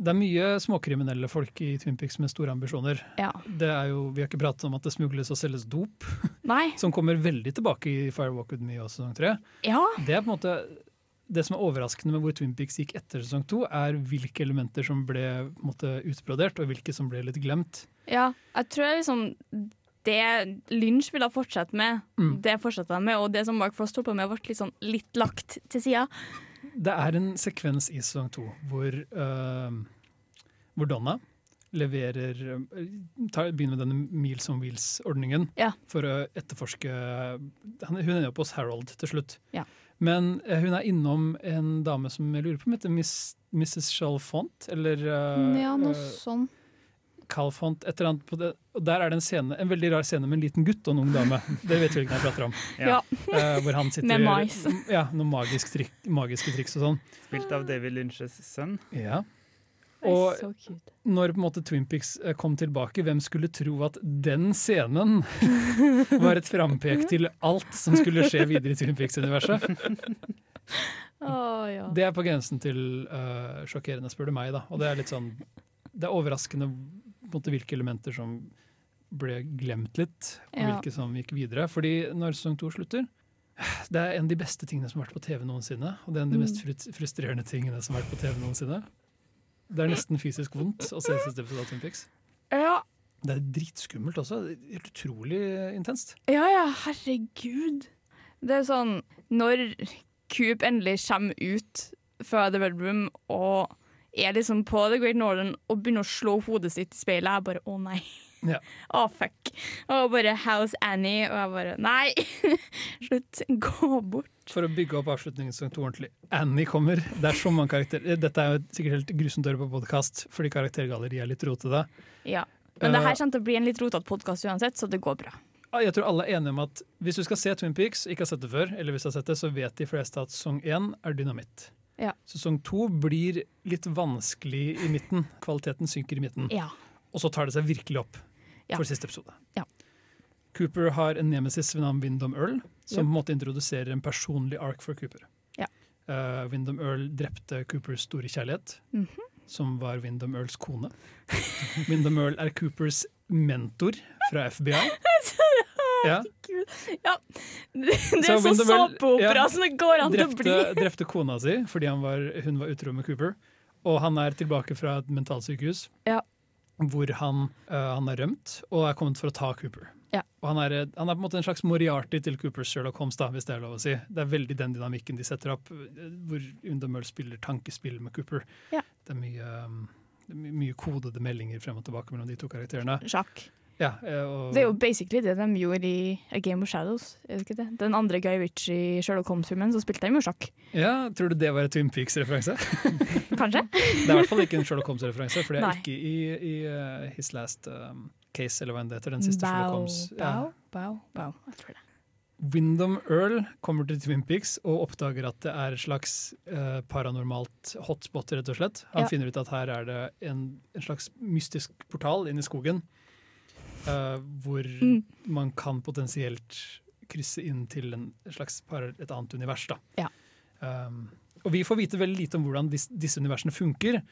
Det er mye småkriminelle folk i Twin Peaks med store ambisjoner. Ja. Det er jo, vi har ikke pratet om at det smugles og selges dop, Nei. som kommer veldig tilbake i Firewalk With Me og sesong tre. Ja. Det er på en måte det som er overraskende med hvor Twin Peaks gikk etter sesong to, er hvilke elementer som ble på en måte, utbrodert, og hvilke som ble litt glemt. Ja, jeg tror liksom det Lynch ville fortsette med, Mm. det fortsatte han med. Og det som Mark Frost holdt på med, ble litt, sånn, litt lagt til sida. Det er en sekvens i sesong to hvor, øhm, hvor Donna leverer øhm, tar, Begynner med denne Meals on Wheels-ordningen Ja. for å etterforske han, Hun ender opp hos Harold til slutt. Ja. Men eh, hun er innom en dame som jeg lurer på om heter Miss, Mrs. Chalfont, eller eh, eh, sånt. Calfont, et eller annet. På det. Og der er det en scene, en veldig rar scene med en liten gutt og en ung dame. Det vet vi hvilken jeg prater om. Ja. Eh, hvor han sitter Med og gjør- mais. Ja, noen magisk trikk, magiske triks og sånn. Spilt av David Lynches sønn. Ja. Og, Og når på en måte Twin Peaks eh, kom tilbake, hvem skulle tro at den scenen var et frampek til alt som skulle skje videre i Twin Peaks-universet? ja. Det er på grensen til eh, sjokkerende, spør du meg. da. Og det er litt sånn, det er overraskende på en måte, hvilke elementer som ble glemt litt, og Ja. hvilke som gikk videre. Fordi når sesong to slutter det er en av de beste tingene som har vært på TV noensinne. Og det er en av de mest frut- frustrerende tingene som har vært på TV noensinne. Det er nesten fysisk vondt å se siste episode av Twin Peaks. ja. Det er dritskummelt også. Det er Helt utrolig intenst. Ja, ja, herregud. Det er sånn Når Coop endelig kommer ut fra The Red Room og er liksom på The Great Northern og begynner å slå hodet sitt i speilet, jeg bare å nei. Ja. Å, fuck. Og bare How's Annie? Og jeg bare nei. Slutt. Gå bort. For å bygge opp avslutningen i sesong to ordentlig. Annie kommer. Det er så mange karakterer. Dette er jo sikkert helt grusomt å høre på podkast, fordi karaktergalleriet er litt rotete. Ja. Men det Eh. her kommer til å bli en litt rotete podkast uansett, så det går bra. Ah, Jeg tror alle er enige om at hvis du skal se Twin Peaks, ikke har sett det før, eller hvis du har sett det, så vet de fleste at sesong én er dynamitt. Ja. Sesong to blir litt vanskelig i midten. Kvaliteten synker i midten. Ja. Og så tar det seg virkelig opp Ja. for siste episode. Ja. Cooper har en nemesis ved navn Windom Earl, som på en måte introduserer en personlig ark for Cooper. Ja. Eh, Windom Earl drepte Coopers store kjærlighet, Mhm. som var Windom Earls kone. Windom Earl er Coopers mentor fra FBI. Ja, ja. Det, det Så er sånn Windom Earl- såpeopera ja. som det går an til å bli. drepte, drepte kona si fordi han var, hun var utro med Cooper. Og han er tilbake fra et mentalsykehus Ja. hvor han, eh, han er rømt og er kommet for å ta Cooper. Ja. Og han er, han er på en måte en slags Moriarty til Coopers Sherlock Holmes, da, hvis det er lov å si. Det er veldig den dynamikken de setter opp, eh, hvor Undamøl spiller tankespill med Cooper. Ja. Det er mye, um, det er my- mye kodede meldinger frem og tilbake mellom de to karakterene. Sjakk. Ja, eh, og, Det er jo basically det de gjorde i A Game of Shadows. Er det ikke det? Den andre Guy Ritchie Sherlock Holmes-filmen, så spilte de jo sjakk. ja, tror du det var et Twin Peaks-referanse? Kanskje? Det er i hvert fall ikke en Sherlock Holmes-referanse, for det er Nei. ikke i, i uh, His Last um, Case, eller hva enn det heter. Den siste Sherlock Bow, Holmes. bow, Ja. bow, bow. Jeg tror det. Windom Earl kommer til Twin Peaks og oppdager at det er et slags eh, paranormalt hotspot, rett og slett. Han Ja. finner ut at her er det en, en slags mystisk portal inn i skogen, eh, hvor Mm. man kan potensielt krysse inn til en slags par, et annet univers. Da. Ehm, Ja. Um, og vi får vite veldig lite om hvordan dis, disse universene funker,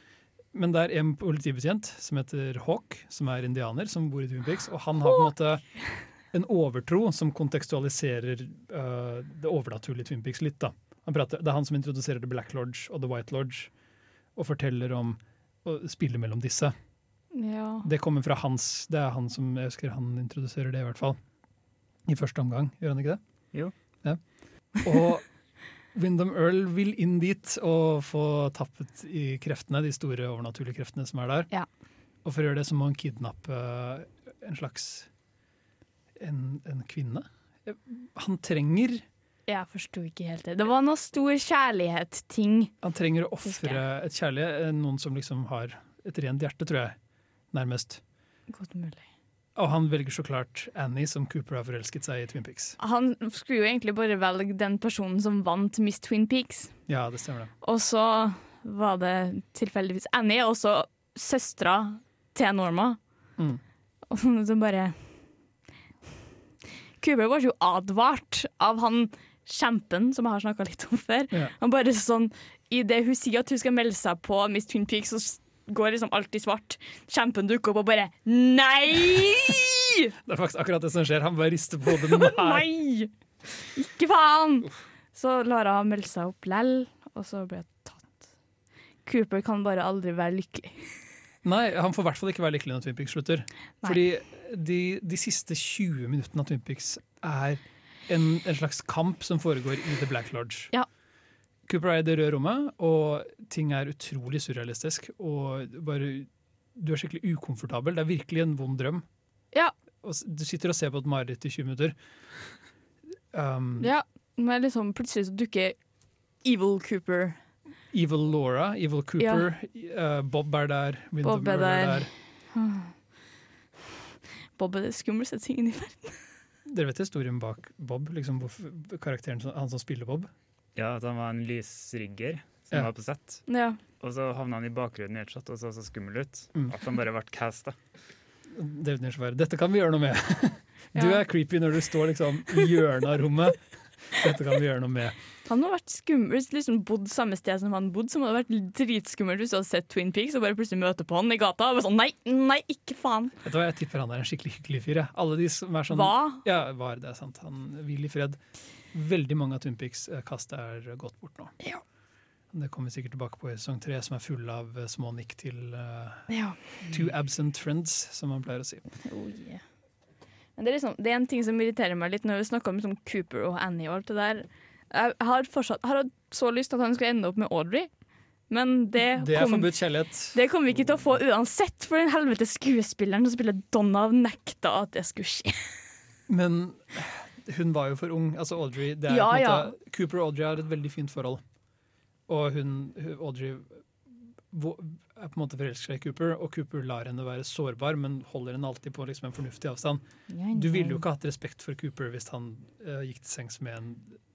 men det er en politibetjent som heter Hawk, som er indianer, som bor i Twin Peaks, og han har på en måte en overtro som kontekstualiserer øh, det overnaturlige i Twin Peaks litt. da. Han prater, det er han som introduserer The Black Lodge og The White Lodge, og forteller om og spiller mellom disse. Ja. Det kommer fra hans Det er han som jeg husker han introduserer det, i hvert fall. I første omgang, gjør han ikke det? Jo. Ja. Og Wyndham Earl vil inn dit og få tappet i kreftene, de store overnaturlige kreftene som er der. Ja. Og for å gjøre det så må han kidnappe en slags en, en kvinne. Han trenger, Jeg forsto ikke helt det. Det var noe stor kjærlighet-ting. han trenger å Husker ofre et kjærlighet, noen som liksom har et rent hjerte, tror jeg. Nærmest. Godt mulig. Og han velger så klart Annie, som Cooper har forelsket seg i Twin Peaks. Han skulle jo egentlig bare velge den personen som vant Miss Twin Peaks. Ja, det stemmer det. Og så var det tilfeldigvis Annie, og så søstera til Norma. Mm. Og så bare Kuber var jo advart av han kjempen som jeg har snakka litt om før. Ja. Han bare sånn Idet hun sier at hun skal melde seg på Miss Twin Peaks, så s- går liksom alt i svart. Kjempen dukker opp og bare Nei! Det er faktisk akkurat det som skjer. Han bare rister på hodet. men Nei. Nei! Ikke faen! Så Lara meldte seg opp lell, og så ble jeg tatt. Cooper kan bare aldri være lykkelig. Nei, han får i hvert fall ikke være lykkelig når Twin Peaks slutter. Nei. Fordi de, de siste 20 minuttene av Twin Peaks er en, en slags kamp som foregår i The Black Lodge. Ja. Cooper er i det røde rommet, og ting er utrolig surrealistisk. Og bare, du er skikkelig ukomfortabel. Det er virkelig en vond drøm. Ja. Og s- du sitter og ser på et mareritt i 20 minutter. Um, Mm. Ja, men liksom plutselig så dukker Evil Cooper. Evil Laura, Evil Cooper, eh, Bob er der, Windham Bob er Earl er der. der. Bob er det skumleste tingen i verden. Dere vet historien bak Bob? Liksom, hvorfor- karakteren som, Han som spiller Bob? Ja, at han var en lysrygger som Ja. var på sett. Ja. Og så havna han i bakgrunnen i et shot og så så skummel ut. Mm. At han bare ble casta. David Lynch var, Dette kan vi gjøre noe med! Du Ja. er creepy når du står liksom, i hjørnet av rommet. Dette kan vi gjøre noe med. Han må ha vært skummel, hvis liksom bodd samme sted som han bodde, så må det ha vært dritskummelt hvis du hadde sett Twin Peaks og bare plutselig møter på han i gata. Og bare sånn, nei, nei, ikke faen. Vet du hva, Jeg tipper han er en skikkelig hyggelig fyr. jeg. Alle de som er sånn Hva? Ja, var, det er sant. Han hvil i fred. Veldig mange av Twinpics-kastet er gått bort nå. Ja. Det kommer vi sikkert tilbake på i sesong tre, som er full av eh, små nikk til eh, Ja. two absent friends, som man pleier å si. Oh, yeah. Men det er, liksom, det er en ting som irriterer meg litt når vi snakker om liksom, Cooper og Annie og alt det der. Jeg har fortsatt har hatt så lyst til at han skal ende opp med Audrey, men det, Det er kom, forbudt kjærlighet. det kommer vi ikke til å få uansett, for den helvete skuespilleren som spiller Donnav nekta at det skulle skje. Men hun var jo for ung. Altså Audrey, det er Ja, på en måte, Cooper og Audrey har et veldig fint forhold. Og hun, hun- Audrey vo- er på en måte forelsker seg i Cooper, og Cooper lar henne være sårbar, men holder henne alltid på liksom en fornuftig avstand. Du ville jo ikke hatt respekt for Cooper hvis han eh, gikk til sengs med en,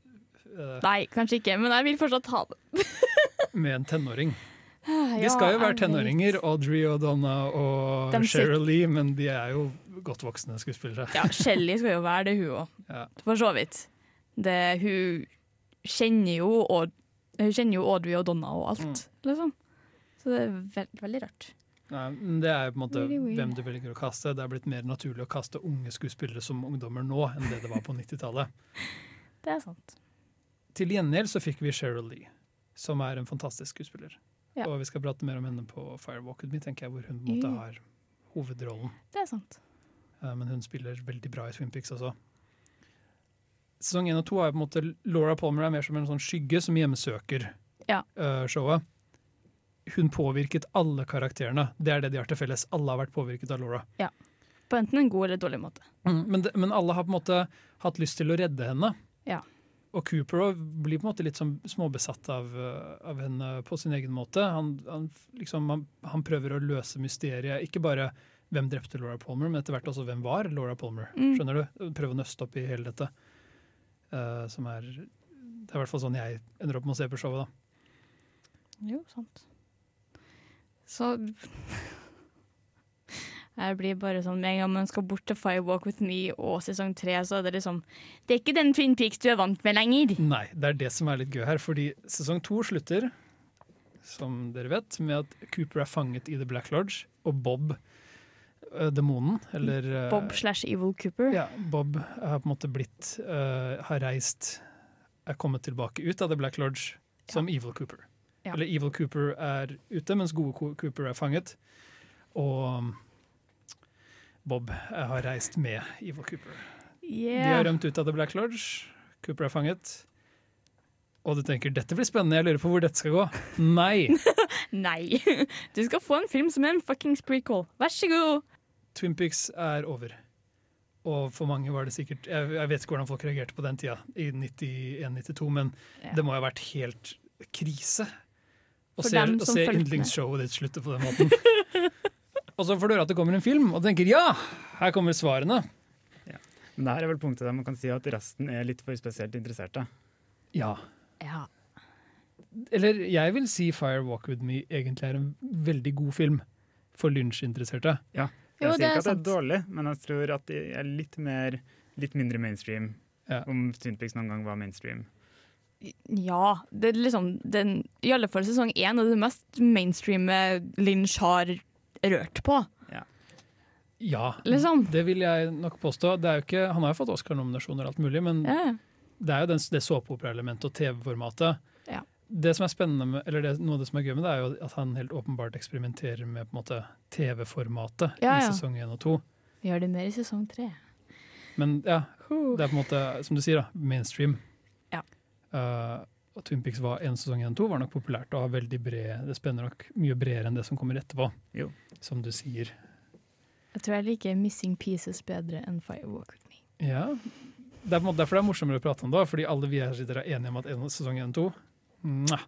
eh, Nei, kanskje ikke, men jeg vil fortsatt ha det. Ah, med en tenåring. Ja, De skal jo være jeg tenåringer, Audrey og Donna og De sit- Cheryl Lee, men de er jo godt voksne skuespillere. vet. Ja, Shelly skal jo være det, hun òg. Ja. For så vidt. Det, hun kjenner jo Aud- Hun kjenner jo Audrey og Donna og alt, liksom. Så det er veld, veldig rart. Nei, men det er jo på en måte Really weird. hvem du velger å kaste. Det er blitt mer naturlig å kaste unge skuespillere som ungdommer nå enn det det var på 90-tallet. Det er sant. Til gjengjeld så fikk vi Cheryl Lee, som er en fantastisk skuespiller. Ja. Og vi skal prate mer om henne på Firewalk With Me, tenker jeg, hvor hun på en måte Mm. har hovedrollen. Det er sant. Eh, Men hun spiller veldig bra i Twin Peaks også. Sesong én og to er på en måte Laura Palmer er mer som en sånn skygge som hjemsøker Ja. eh, showet. Hun påvirket alle karakterene. Det er det de har til felles. Alle har vært påvirket av Laura. På enten en god eller dårlig måte. Mm, Men, det- men alle har på en måte hatt lyst til å redde henne. Ja. Og Cooper også blir på en måte litt sånn småbesatt av, eh, av henne på sin egen måte. Han, han, f- liksom, han, han prøver å løse mysteriet. Ikke bare hvem drepte Laura Palmer, men etter hvert også hvem var Laura Palmer. Mm. Skjønner du? Prøve å nøste opp i hele dette. Eh, som er Det er i hvert fall sånn jeg ender opp med å se på showet. da. Jo, sant. Så Jeg blir bare sånn Med en gang man skal bort til Five Walk With Me og sesong tre, så er det liksom Det er ikke den Twin Peaks du er vant med lenger. Nei, det er det som er litt gøy her, fordi sesong to slutter. som dere vet, med at Cooper er fanget i The Black Lodge, og Bob, eh, demonen, eller eh, Bob slash Evil Cooper. ja, Bob har på en måte blitt eh, Har reist Er kommet tilbake ut av The Black Lodge som Evil Cooper. Ja. Eller Evil Cooper er ute, mens gode Co- Cooper er fanget. Og Bob eh, har reist med Evil Cooper. De har Yeah. rømt ut av The Black Lodge. Cooper er fanget. Og du tenker 'dette blir spennende, jeg lurer på hvor dette skal gå'. Nei! Nei. Du skal få en film som er en fuckings prequel. Vær så god. Twin Peaks er over. Og for mange var det sikkert Jeg, jeg vet ikke hvordan folk reagerte på den tida, i 91-92, men Ja. det må jo ha vært helt krise å For se, dem å som se fulgte med. yndlingsshowet ditt slutte på den måten. og så får du høre at det kommer en film, og du tenker ja, her kommer svarene. Men det her er vel punktet der man kan si at resten er litt for spesielt interesserte. Ja. Ja. Eller jeg vil si Fire Walk With Me egentlig er en veldig god film for lynsjinteresserte. Jeg Jo, sier det ikke at det er er sant. dårlig, men jeg tror at de er litt, mer, litt mindre mainstream. Ja. Om Twin Peaks noen gang var mainstream. Ja. Det er liksom den, I alle fall sesong én er det mest mainstreame Lynch har rørt på, Ja. liksom. Det vil jeg nok påstå. Det er jo ikke, han har jo fått Oscar-nominasjoner og alt mulig, men Ja. det er jo den, det såpeoperaelementet og TV-formatet. Ja. Det som er spennende med, eller det, Noe av det som er gøy med det, er jo at han helt åpenbart eksperimenterer med på en måte TV-formatet Ja, i ja. sesong én og to. Vi gjør det mer i sesong tre. Men ja, det er på en måte, som du sier, da, mainstream. Ja. Eh, og Twin Peaks var en sesong én og to, var nok populært og har veldig bred, det spenner nok mye bredere enn det som kommer etterpå. Jo. Som du sier. Jeg tror jeg liker Missing Pieces bedre enn Fire Walk With Me. Ja. Det er på en måte derfor det er morsommere å prate om det, fordi alle vi her sitter er enige om at en, sesong én og to mwah,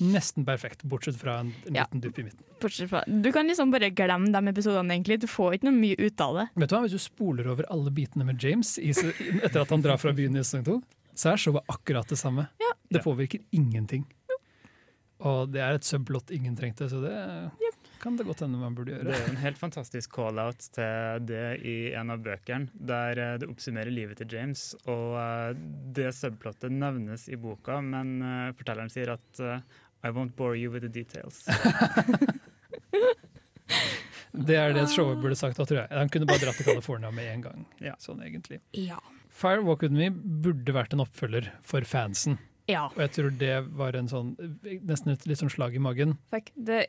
nesten perfekt, bortsett fra en, en Ja. liten dupp i midten. Bortsett fra Du kan liksom bare glemme de episodene, egentlig. Du får ikke noe mye ut av det. Vet du hva, Hvis du spoler over alle bitene med James i, se- etter at han drar fra byen i sesong to, så er showet akkurat det samme. Det påvirker ingenting. Og det er et subblått ingen trengte, så det kan det godt hende man burde Det gjøre. er jo en helt fantastisk call-out til det i en av bøkene, der eh, det oppsummerer livet til James. Og eh, det subplottet nevnes i boka, men eh, fortelleren sier at eh, I won't bore you with the details. Det er det showet burde sagt da, tror jeg. Han kunne bare dratt til California med en gang. Ja. Sånn egentlig. Ja. Fire Walk With Me burde vært en oppfølger for fansen. ja. Og jeg tror det var en sånn, nesten et litt sånn slag i magen. Fuck. Det,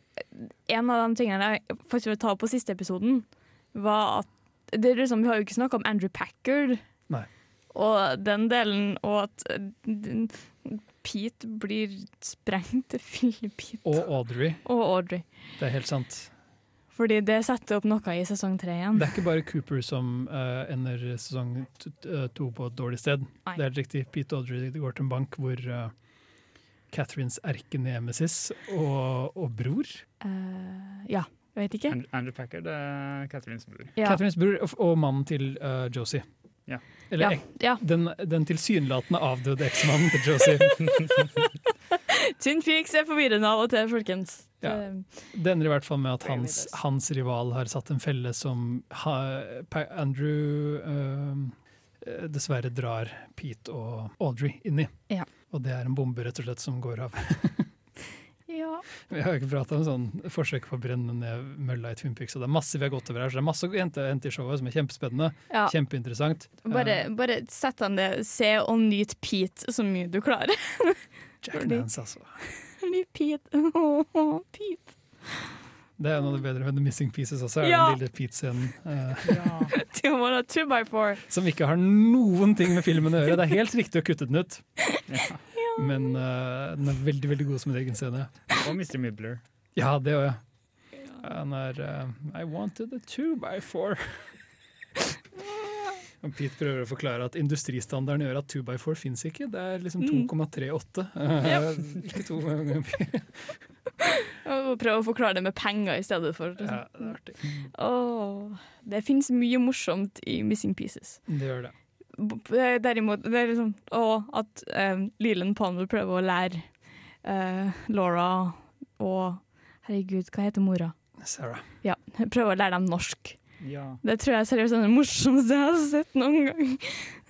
en av de tingene jeg faktisk ville ta opp på siste episoden, var at det er liksom, Vi har jo ikke snakka om Andrew Packard Nei. og den delen, og at eh, den- Pete blir sprengt til Filipin Og Audrey, og Audrey. det er helt sant. Fordi det setter opp noe i sesong tre igjen. Det er ikke bare Cooper som eh, ender sesong t- t- eh, to på et dårlig sted. Nei. Det er helt riktig. Pete Audrey går til en bank hvor eh, Catherines erkenemesis og, og bror Eh, ja, jeg vet ikke. And- Andrew Packard er Catherines bror. Ja, Catherines bror og, og mannen til eh, Josie. Ja. Eller ja, ek- ja. den, den tilsynelatende avdøde eksmannen til Josie. Tynn fiks er forvirrende av og til, folkens. Eh, Ja. Det- Det ender i hvert fall med at Bring me hans, this. hans rival har satt en felle som ha, Pa- Andrew ehm, eh, dessverre drar Pete og Audrey inn i. Ja. Og det er en bombe rett og slett som går av. ja. Vi har jo ikke prata om sånn forsøk på å brenne ned mølla i Twin Peaks, og det er masse vi har gått over her, så det er masse å hente, hente i showet som er kjempespennende, ja. kjempeinteressant. Eh, Bare, bare sett han det, se og nyt Pete så mye du klarer. Jack Nance, altså. Ny Pete. Åh, Pete. Det er noe av det bedre med The Missing Pieces også, er Ja. den lille Pete-scenen. eh, Do you want a oh two by four? som ikke har noen ting med filmen å gjøre. Det er helt riktig å kutte den ut, Ja. men eh, den er veldig veldig god som en egen scene. Og Mr. Mibler. Ja, det òg, ja. Han er eh, I wanted a two by four. Og Pete prøver å forklare at industristandarden gjør at two by four fins ikke. Det er liksom 2,38. ikke to ganger pi. Og prøve å forklare det med penger i stedet for. Ja, liksom. det er artig. Åh, det finnes mye morsomt i Missing Pieces. Det gjør det. B- b- Derimot, det er liksom åh, at um, Leland Palmer prøver å lære eh, Laura og Herregud, hva heter mora? Sarah. Ja, prøver å lære dem norsk. Ja. Det tror jeg seriøst er det morsomste jeg har sett noen gang.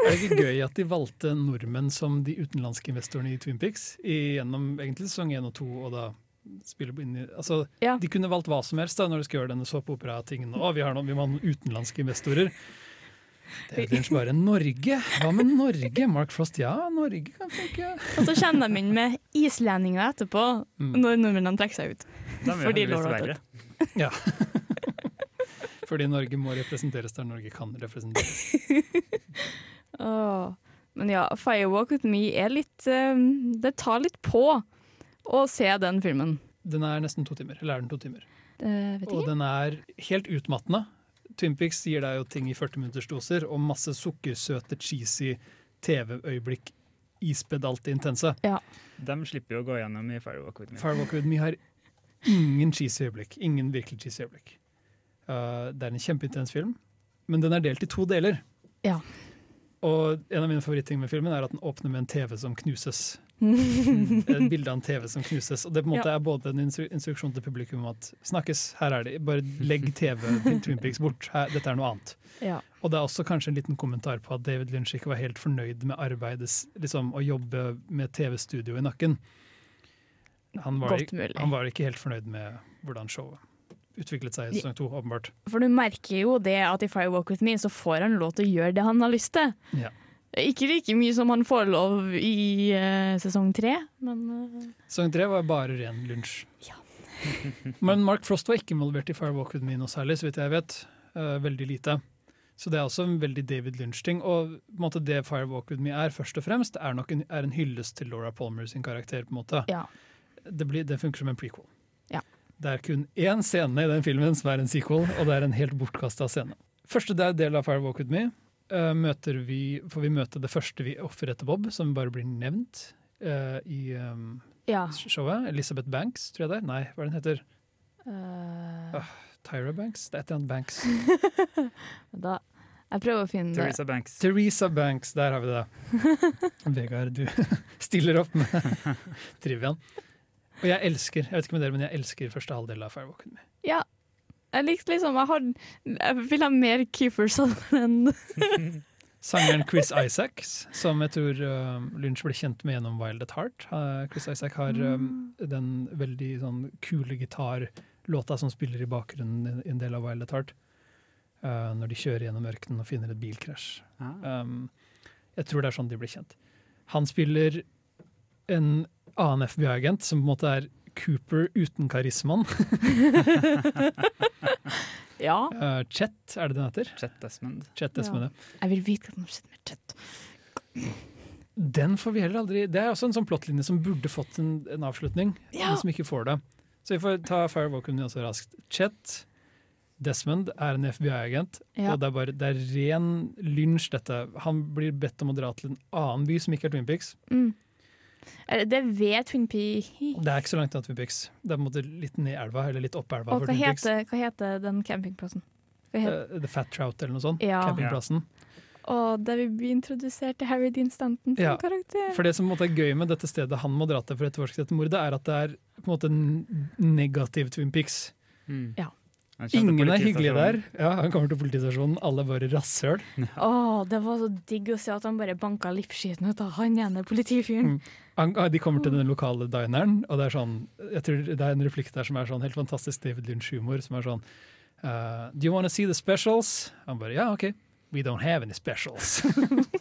Er det ikke gøy at de valgte nordmenn som de utenlandske investorene i Twin Pics? I- Gjennom egentlig sesong én og to, og da spiller på inni, altså, Ja. De kunne valgt hva som helst da, når de skal gjøre denne såpeopera-tingen. Å, vi har noen, vi må ha noen utenlandske investorer. Det er kanskje bare Norge. Hva med Norge? Mark Frost, ja, Norge kan funke. Og så kjenner de inn med islendinger etterpå, Mm. når nordmennene trekker seg ut. De er Fordi heldigvis Laura har verre. Ja. Fordi Norge må representeres der Norge kan representeres. Åh. Men ja, 'Firewalk With Me' er litt eh, Det tar litt på å se den filmen. Den er nesten to timer. Eller er den to timer? Eh, vet Og ikke. den er helt utmattende. Twinpics gir deg jo ting i 40-minuttersdoser og masse sukkersøte, cheesy TV-øyeblikk ispedd alt det intense. De slipper jo å gå gjennom i Firewalk with me. Firewalk With Me har ingen cheesy øyeblikk. Ingen virkelig cheesy øyeblikk. Uh, det er en kjempeintens film, men den er delt i to deler. Ja. Og en av mine favorittting med filmen er at den åpner med en TV som knuses. Et bilde av en TV som knuses. Og det på en måte er både en instru instruksjon til publikum om at snakkes, her er det, bare legg TV til Twin Peaks bort, her, dette er noe annet. Ja. Og det er også kanskje en liten kommentar på at David Lynch ikke var helt fornøyd med arbeidet, s- liksom å jobbe med TV-studio i nakken. Han var, Godt mulig. han var ikke helt fornøyd med hvordan showet utviklet seg i sesong to, åpenbart. For du merker jo det at i 'Firewalk With Me' så får han lov til å gjøre det han har lyst til. Ja. Ikke like mye som han får lov i eh, sesong tre, men eh, Sesong tre var bare ren lunsj. Men Mark Frost var ikke involvert i Firewalk With Me noe særlig, så vidt jeg vet. Eh, veldig lite. Så det er også en veldig David Lynch-ting. Og på en måte, det Firewalk With Me er, først og fremst, er nok en, er en hyllest til Laura Palmer sin karakter. på en måte. ja. det, blir, det funker som en prequel. Ja. Det er kun én scene i den filmen som er en sequel, og det er en helt bortkasta scene. Første der del av Firewalk With Me eh, møter vi, får vi møte det første vi offer etter Bob, som bare blir nevnt eh, i ehm, ja. showet. Elizabeth Banks, tror jeg det er. Nei, hva er det den heter? Eh, Ah. Tyra Banks? Det er et eller annet Banks. da, jeg prøver å finne det. Teresa Banks. Teresa Banks, der har vi det. Vegard, du stiller opp med triviaen. Og jeg elsker, jeg vet ikke med dere, men jeg elsker første halvdel av Firewalk With Me. Ja. Jeg likte liksom Jeg, har, jeg vil ha mer Keefer Sutherland. Sangeren Chris Isaacs, som jeg tror uh, Lynch ble kjent med gjennom Wild at Heart. Eh, Chris Isaac har Mm. um, den veldig sånn kule gitarlåta som spiller i bakgrunnen i en del av Wild at Heart. eh, når de kjører gjennom ørkenen og finner et bilkrasj. Ah. Um, jeg tror det er sånn de ble kjent. Han spiller en annen FBI-agent som på en måte er Cooper uten karismaen. Ja. Eh, Chet, er det den heter? Chet Desmond. Chet Desmond, ja. Jeg vil vite hva som skjedde med Chet. Den får vi heller aldri Det er også en sånn plottlinje som burde fått en, en avslutning, Ja. men som ikke får det. Så vi får ta Firewalken også raskt. Chet Desmond er en FBI-agent, Ja. og det er, bare, det er ren lynsj, dette. Han blir bedt om å dra til en annen by som ikke er Twin Peaks. Mm. Eh, Det vet Twin Pea. Det er ikke så langt unna Twin Peaks. Det er på en måte litt ned elva, eller litt opp elva. Og for hva Twin Peaks. heter, hva heter den campingplassen? Hva heter, Eh, The Fat Trout eller noe sånt. Ja. Campingplassen. og der vi blir introdusert til Harry Dean Stanton som Ja. karakter. For det som på en måte er gøy med dette stedet han må dra til for å etterforske dette mordet, er at det er på en måte en negativ Twin Peaks. Mm. Ja. Han kjente Ingen er hyggelige der. politistasjonen. Ja, Han kommer til politistasjonen, alle er bare rasshøl. Åh, det var så digg å se at han bare banka livskiten ut av han ene politifyren. Han, ah, de kommer til den lokale dineren, og det er sånn jeg tror det er en replikk der som er sånn helt fantastisk David Lynch-humor, som er sånn eh, Do you wanna see the specials? Han bare ja, OK. We don't have any specials.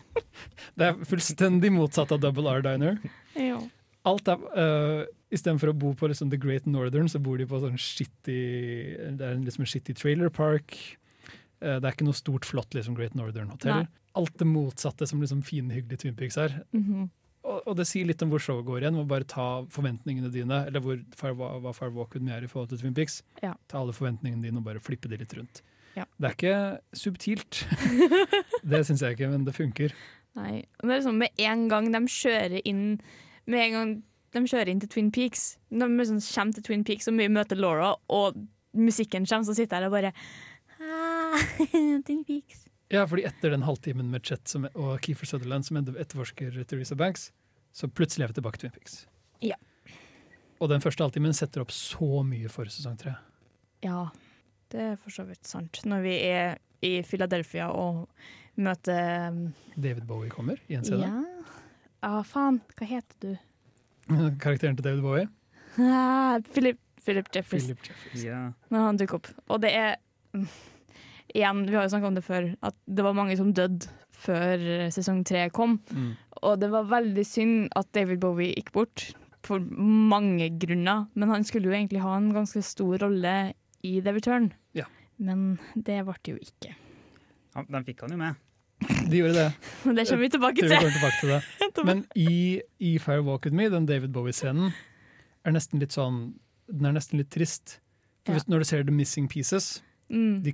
det er fullstendig motsatt av Double R Diner. Ja. Alt er, eh, Istedenfor å bo på liksom The Great Northern, så bor de på sånn shitty Det er liksom en shitty trailer park. Eh, det er ikke noe stort, flott liksom Great Northern hotell. Nei. Alt det motsatte som liksom finhyggelig Twin Peaks er. Mhm. Og, og det sier litt om hvor showet går igjen. Må bare ta forventningene dine, eller hvor, far, hva, hva Far Walk With Me er i forhold til Twin Peaks. Ja. Ta alle forventningene dine og bare flippe de litt rundt. Ja. Det er ikke subtilt. det syns jeg ikke, men det funker. Nei. Og Det er liksom med en gang de kjører inn Med en gang de kjører inn til Twin Peaks Når de liksom kommer til Twin Peaks og vi møter Laura, og musikken kommer, så sitter jeg der og bare «Ah, Twin Peaks. Ja, fordi etter den halvtimen med Chet som, og Keefer Sutherland som etterforsker Theresa Banks, så plutselig er vi tilbake til Twin Peaks. Ja. Og den første halvtimen setter opp så mye for sesong tre. Ja, det er for så vidt sant. Når vi er i Philadelphia og møter um, David Bowie kommer i en scene. Ja, ah, faen, hva heter du? Karakteren til David Bowie. Ah, Philip, Philip Jeffries. Philip Jeffries. Ja. Men han dukker opp. Og det er mm, Igjen, vi har jo snakka om det før, at det var mange som døde før eh, sesong tre kom. Mm. Og det var veldig synd at David Bowie gikk bort, for mange grunner. Men han skulle jo egentlig ha en ganske stor rolle i The Return. Ja. Men det ble det jo ikke. Han, den fikk han jo med. De gjorde det. Men det kommer vi tilbake Vi til. kommer tilbake til det. Men i, i Fire Walk With Me, den David Bowie-scenen, er nesten litt sånn Den er nesten litt trist. For Ja. hvis, når du ser The Missing Pieces, Mm. de,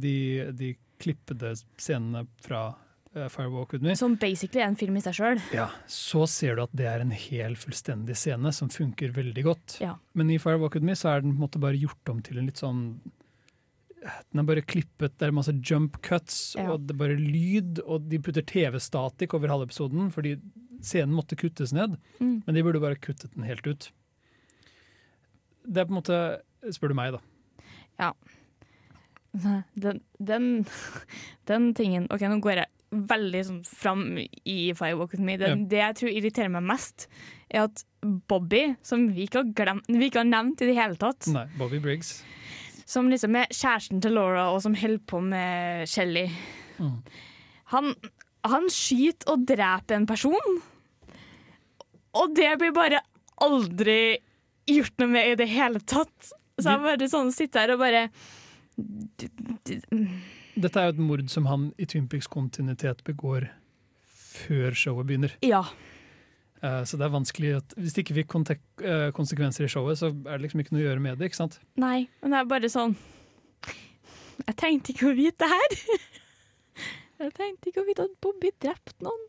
de, de klippede scenene fra eh, Fire Walk With Me, Som basically er en film i seg sjøl. så ser du at det er en hel fullstendig scene som funker veldig godt. Ja. Men i Fire Walk With Me så er den på en måte bare gjort om til en litt sånn eh, den er bare klippet, det er masse jump cuts, Ja. og det er bare lyd, og de putter TV-statikk over halve episoden, fordi scenen måtte kuttes ned. Mm. Men de burde bare kuttet den helt ut. Det er på en måte, spør du meg da. Den, den, den tingen OK, nå går jeg veldig sånn fram i Firewalk with me. Den, Det jeg tror irriterer meg mest, er at Bobby, som vi ikke har, glemt, vi ikke har nevnt i det hele tatt, Nei, Bobby Briggs. som liksom er kjæresten til Laura og som holder på med Shelly Mm. han, han skyter og dreper en person, og det blir bare aldri gjort noe med i det hele tatt. Så jeg bare sånn sitter her og bare Dette er jo et mord som han i Twin Peaks kontinuitet begår før showet begynner. Ja. Eh, Så det er vanskelig at Hvis det ikke fikk kontek eh, konsekvenser i showet, så er det liksom ikke noe å gjøre med det. ikke sant? Nei, men det er bare sånn Jeg trengte ikke å vite det her. Jeg trengte ikke å vite at Bobby drepte noen.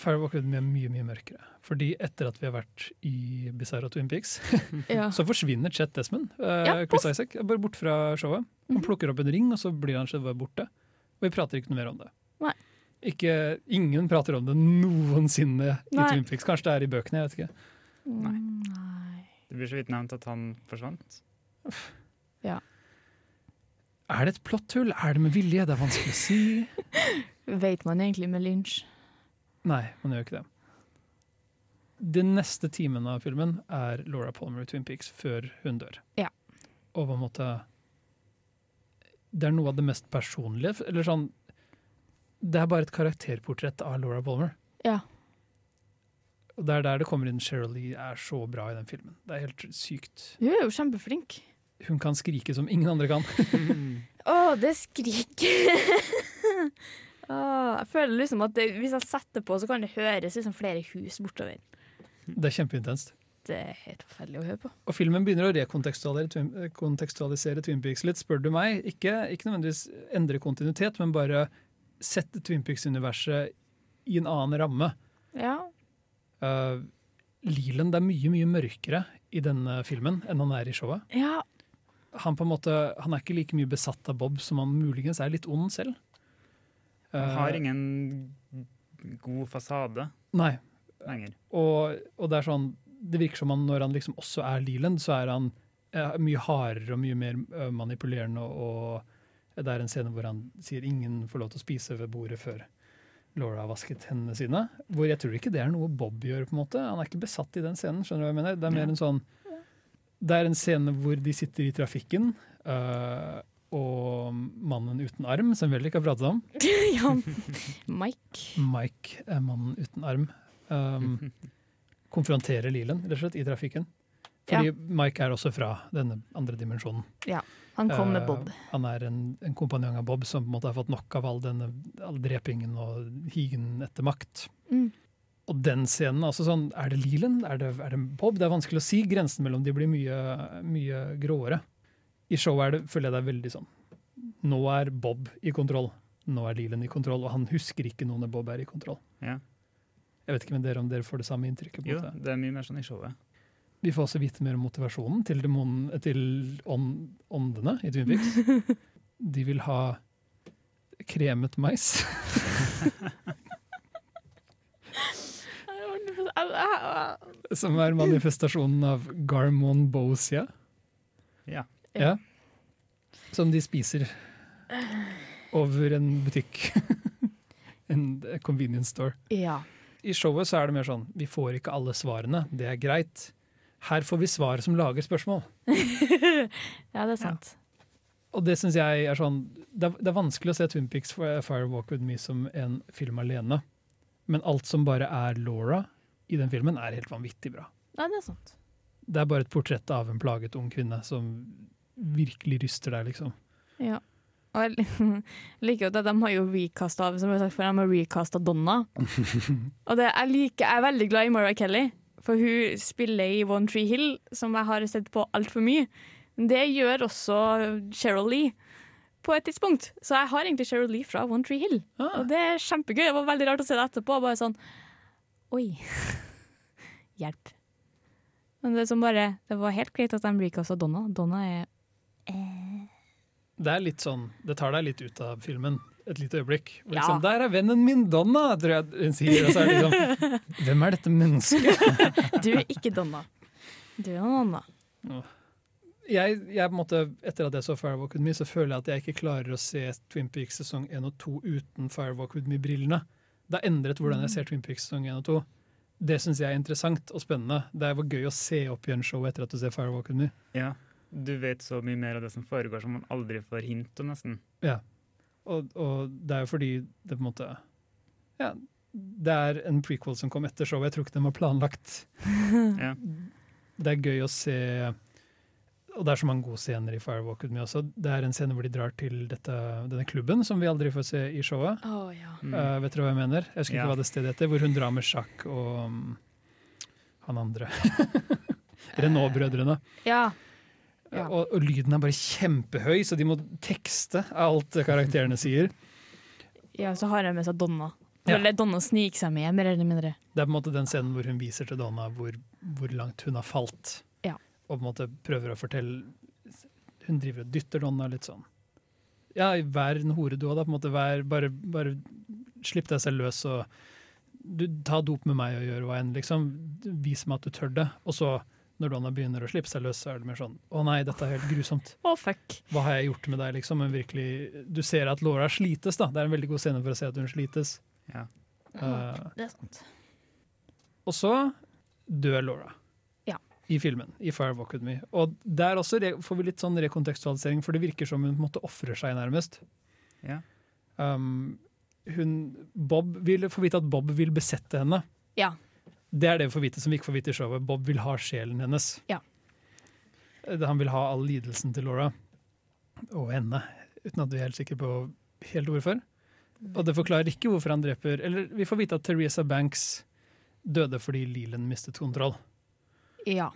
Firewalk With Me er mye mye mørkere. Fordi etter at vi har vært i Bizarro Twin Peaks, Ja. Mhm. så forsvinner Chet Desmond, eh, Ja, Mhm. Chris Isaac, er bare bort fra showet. Han plukker opp en ring, og så blir han bare borte. Og vi prater ikke noe mer om det. Nei. Ikke, ingen prater om det noensinne Nei. i Twin Peaks. Kanskje det er i bøkene, jeg vet ikke. Nei. Mm, Nei. Det blir så vidt nevnt at han forsvant. Er det et plotthull? Er det med vilje? Det er vanskelig å si. Vet man egentlig med Lynch? Nei, man gjør ikke det. Den neste timen av filmen er Laura Palmer i Twin Peaks før hun dør. Ja. Og på en måte Det er noe av det mest personlige. Eller sånn Det er bare et karakterportrett av Laura Palmer. Ja. Og det er der det kommer inn Cheryl Lee er så bra i den filmen. Det er helt sykt. Hun er jo kjempeflink. Hun kan skrike som ingen andre kan. Å, det skriker! Åh, jeg føler liksom at det, hvis jeg setter på, så kan det høres liksom flere hus bortover. Det er kjempeintenst. Det er helt forferdelig å høre på. Og filmen begynner å rekontekstualisere Twin- kontekstualisere Twin Peaks litt, spør du meg. Ikke, ikke nødvendigvis endre kontinuitet, men bare sette Twin Peaks-universet i en annen ramme. Ja. Uh, Leland er mye, mye mørkere i denne filmen enn han er i showet. ja. Han, på en måte, han er ikke like mye besatt av Bob som han muligens er litt ond selv. Han Uh, har ingen god fasade Nei, lenger. Og, og det er sånn Det virker som han, når han liksom også er Leland, så er han eh, mye hardere og mye mer eh, manipulerende. Og, og det er en scene hvor han sier ingen får lov til å spise ved bordet før Laura har vasket hendene sine. Hvor jeg tror ikke det er noe Bob gjør. på en måte Han er ikke besatt i den scenen. skjønner du hva jeg mener? Det er mer en sånn det er en scene hvor de sitter i trafikken, eh, og mannen uten arm, som vi heller ikke har pratet om, ja. Mike. Mike, eh, mannen uten arm, um, konfronterer Leland rett og slett, i trafikken. Fordi Mike er også fra denne andre dimensjonen. Han kom med Eh, Bob. Han er en, en kompanjong av Bob som på en måte har fått nok av all denne all drepingen og higen etter makt. Mm. Og den scenen, altså sånn, er det Leland? Er det, er det Bob? Det er vanskelig å si. Grensen mellom de blir mye, mye gråere. I showet er det, føler jeg det er veldig sånn. Nå er Bob i kontroll. Nå er Leland i kontroll, og han husker ikke noe når Bob er i kontroll. Ja. Jeg vet ikke med dere om dere får det samme inntrykket. på en Jo, måte. det er mye mer sånn i showet. Vi får også vite mer om motivasjonen til, demonen, til ånd- åndene i Twin Peaks. De vil ha kremet mais. Som er manifestasjonen av Garmon Bosia. Ja. Ja. Som de spiser over en butikk. en convenience store. Ja. I showet så er det mer sånn vi får ikke alle svarene, det er greit. Her får vi svar som lager spørsmål. Ja, det er sant. Og det synes jeg er sånn det er, det er vanskelig å se Twin Peaks for- Fire Walk With Me som en film alene. Men alt som bare er Laura i den filmen, er helt vanvittig bra. Nei, det er sant. Det er bare et portrett av en plaget ung kvinne som virkelig ryster deg, liksom. Ja. Og jeg lik- liker jo at de har jo recasta som jeg har sagt før, de har recasta Donna. Og det, jeg, liker, jeg er veldig glad i Mara Kelly, for hun spiller i One Tree Hill, som jeg har sett på altfor mye. Men Det gjør også Cheryl Lee på et tidspunkt. Så jeg har egentlig Cheryl Lee fra One Tree Hill. Ah, Og det er kjempegøy. Det var veldig rart å se det etterpå. Bare sånn Oi. Hjelp. Men det som bare Det var helt greit at de recasta Donna. Donna er det er litt sånn Det tar deg litt ut av filmen et lite øyeblikk. Og Ja. Liksom, 'Der er vennen min Donna', tror jeg hun sier. Og så er det liksom Hvem er dette mennesket? Du er ikke Donna. Du er noen annen. Jeg, jeg på en måte, Etter at jeg så 'Firewalk With Me', så føler jeg at jeg ikke klarer å se Twin Peaks sesong 1 og 2 uten 'Firewalk With Me'-brillene. Det har endret hvordan jeg ser Twin Peaks sesong 1 og 2. Det syns jeg er interessant og spennende. Det var gøy å se opp igjen showet etter at du ser 'Firewalk With Me'. Ja, du vet så mye mer av det som foregår som man aldri får hint om, nesten. Og, og det er jo fordi det på en måte Ja, det er en prequel som kom etter showet. Jeg tror ikke den var planlagt. Ja. Det er gøy å se Og det er så mange gode scener i Firewalk With Me også. Det er en scene hvor de drar til dette, denne klubben som vi aldri får se i showet. Oh, ja. Mm. Eh, vet dere hva jeg mener? Jeg husker Ja. ikke hva det stedet heter. Hvor hun drar med sjakk og mm, han andre. Renault-brødrene. ja. Ja. Og, og lyden er bare kjempehøy, så de må tekste alt karakterene sier. så har jeg med seg Donna. Ja. Eller Donna sniker seg med, mer eller mindre. Det er på en måte den scenen hvor hun viser til Donna hvor, hvor langt hun har falt. Ja. Og på en måte prøver å fortelle Hun driver og dytter Donna litt sånn. Ja, vær en hore du òg, da. På en måte, vær, bare, bare slipp deg selv løs og du, Ta dop med meg og gjør hva enn, liksom. Vis meg at du tør det. Og så, når Donna begynner å slippe seg løs, så er det mer sånn Å nei, dette er helt grusomt. Å, fuck. Hva har jeg gjort med deg, liksom? Men virkelig, du ser at Laura slites, da. Det er en veldig god scene for å se at hun slites. Ja. Eh, Det er sant. og så dør Laura Ja. i filmen, i Fire Walk With Me. Og der også re- får vi litt sånn rekontekstualisering, for det virker som hun på en måte ofrer seg nærmest. Ja. Um, hun, Bob vil få vite at Bob vil besette henne. Ja. Det er det vi får vite som vi ikke får vite i showet. Bob vil ha sjelen hennes. Ja. Eh, Han vil ha all lidelsen til Laura og henne, uten at vi er helt sikre på helt hvorfor. Og det forklarer ikke hvorfor han dreper Eller vi får vite at Teresa Banks døde fordi Leland mistet kontroll. Ja.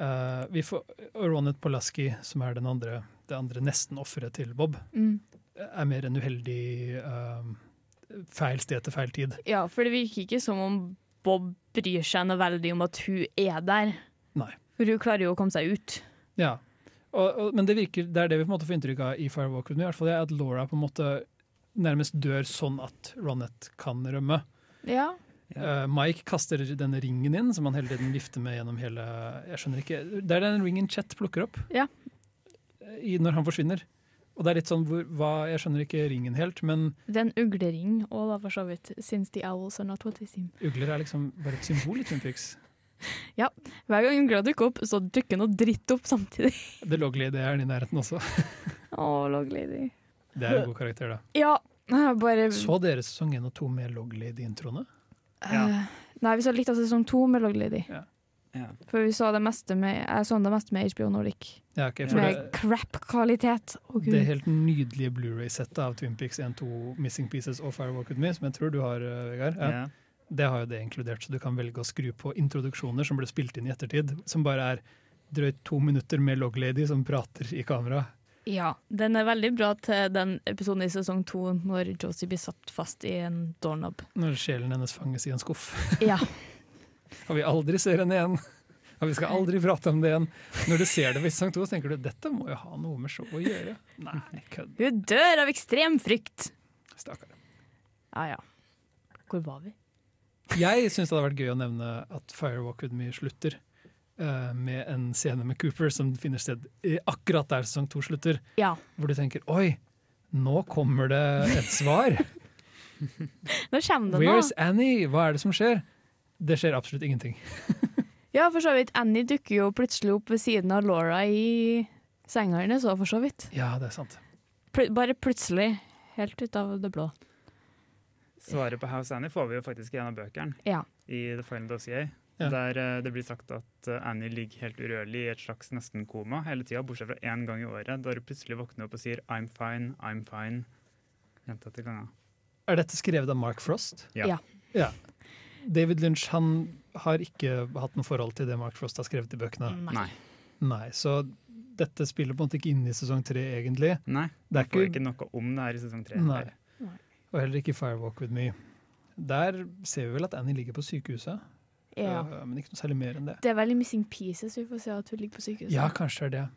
Eh, vi får, og Ronet Polaski, som er den andre, det andre nesten-offeret til Bob, Mm. er mer en uheldig eh, feil sted til feil tid. ja, for det virker ikke som om Bob bryr seg noe veldig om at hun er der. Nei. For hun klarer jo å komme seg ut. Ja. Og, og, men det virker, det er det vi på en måte får inntrykk av i Firewalk With Me, i hvert fall det er at Laura på en måte nærmest dør sånn at Ronette kan rømme. Ja. Eh, Mike kaster denne ringen inn, som han hele tiden vifter med gjennom hele Jeg skjønner ikke, Det er den ringen Chet plukker opp eh, Ja. i, når han forsvinner. Og det er litt sånn hvor, hva, Jeg skjønner ikke ringen helt, men Det er en uglering òg, for så vidt. Since the owls are not what they seem. ugler er liksom bare et symbol i Twin Peaks. Hver gang ugla dukker opp, så dukker noe dritt opp samtidig. Det lå litt i det her i nærheten også. Å, log lady. Det er en god karakter, da. Ja, jeg bare Så dere sesong én og to med Loglady-introene? Ja. Eh, Nei, vi så litt av sesong to med Log Lady. Ja. For vi så det meste med, jeg så det meste med HBO Nordic. Ja, ok, for Med det, crap-kvalitet. Å, Gud. det helt nydelige Blu-ray-settet av Twin Peaks 1, 2, Missing Pieces og Firewalk With Me, som jeg tror du har, eh, Vegard. Ja. Ja. Det har jo det inkludert, så du kan velge å skru på introduksjoner som ble spilt inn i ettertid, som bare er drøyt to minutter med Loglady som prater i kamera. Ja, den er veldig bra til den episoden i sesong to når Josie blir satt fast i en doorknob. Når sjelen hennes fanges i en skuff. Ja. Og vi aldri ser henne igjen. Og vi skal aldri prate om det igjen. Når du ser det ved sesong to, så tenker du dette må jo ha noe med showet å gjøre. Nei, kødd. Hun dør av ekstrem frykt! Stakkar. Ja, ja. Hvor var vi? Jeg syns det hadde vært gøy å nevne at Firewalk With Me slutter eh, med en scene med Cooper som finner sted i- akkurat der sesong to slutter. Ja. Hvor du tenker oi, nå kommer det et svar. Nå kommer det Where's nå. Annie? Hva er det som skjer? Det skjer absolutt ingenting. Ja, for så vidt. Annie dukker jo plutselig opp ved siden av Laura i senga hennes òg, for så vidt. Ja, det er sant. Pl bare plutselig. Helt ut av det blå. Svaret på House Annie får vi jo faktisk i en av bøkene, Ja. i The Final Dossier. Ja. Der eh, det blir sagt at eh, Annie ligger helt urørlig i et slags nesten-koma hele tida, bortsett fra én gang i året, da hun plutselig våkner opp og sier 'I'm fine, I'm fine' gjentatte ganger. Er dette skrevet av Mark Frost? Ja. Ja. Ja. David Lynch han har ikke hatt noe forhold til det Mark Frost har skrevet i bøkene. Nei. Ah, Nei, Så dette spiller på en måte ikke inn i sesong tre, egentlig. Nei, Det Man er får ikke- ikke noe om det her i sesong tre. Nei. heller. Og heller ikke i Firewalk With Me. Der ser vi vel at Annie ligger på sykehuset, Ja. øh, men ikke noe særlig mer enn det. Det er veldig missing pieces vi får se at hun ligger på sykehuset. Ja, kanskje det er det.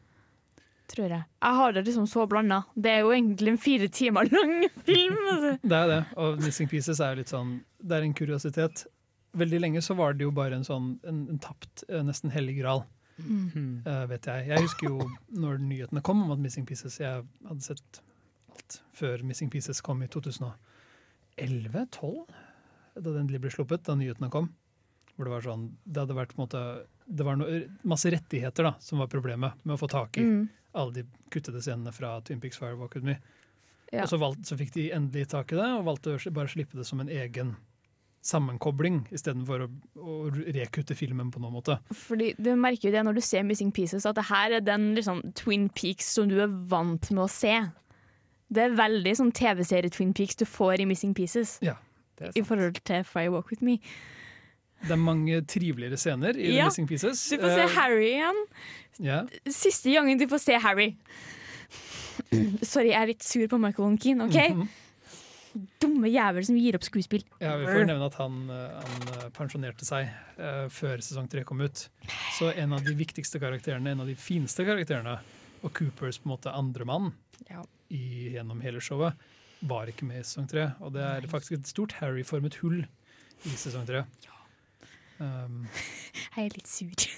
Tror jeg. Jeg har det liksom så blanda. Det er jo egentlig en fire timer lang film. Altså. Det er jo det. Og Missing Pieces er jo litt sånn Det er en kuriositet. Veldig lenge så var det jo bare en sånn en, en tapt, eh, nesten hellig gral, Mm. Hmm. eh, vet jeg. Jeg husker jo når nyhetene kom om at Missing Pieces Jeg hadde sett alt før Missing Pieces kom i 2011-12, da den endelig ble sluppet, da nyhetene kom. Hvor det var sånn Det hadde vært på en måte Det var noe, masse rettigheter da som var problemet med å få tak i Mm. alle de kuttede scenene fra Twin Peaks Firewalk With Me. Ja. Og så, valgte, så fikk de endelig tak i det, og valgte å sli- bare slippe det som en egen sammenkobling, istedenfor å, å rekutte filmen på noen måte. Fordi Du merker jo det når du ser Missing Pieces, at det her er den liksom, Twin Peaks som du er vant med å se. Det er veldig sånn TV-serie-Twin Peaks du får i Missing Pieces Det er i sant. forhold til Fire Walk With Me. Det er mange triveligere scener i Ja, The Missing Pieces. Du får se Eh, Harry igjen. ja. Siste gangen du får se Harry. Mm. Sorry, jeg er litt sur på Michael Onkin, OK? Mhm. Dumme jævel som gir opp skuespill. ja, vi får nevne at han, eh, han eh, pensjonerte seg eh, før sesong tre kom ut. Så en av de viktigste karakterene, en av de fineste karakterene, og Coopers på en måte andre mann Ja. i, gjennom hele showet, var ikke med i sesong tre. Og det er faktisk et stort Harry-formet hull i sesong tre. Um, Jeg er litt sur. Jeg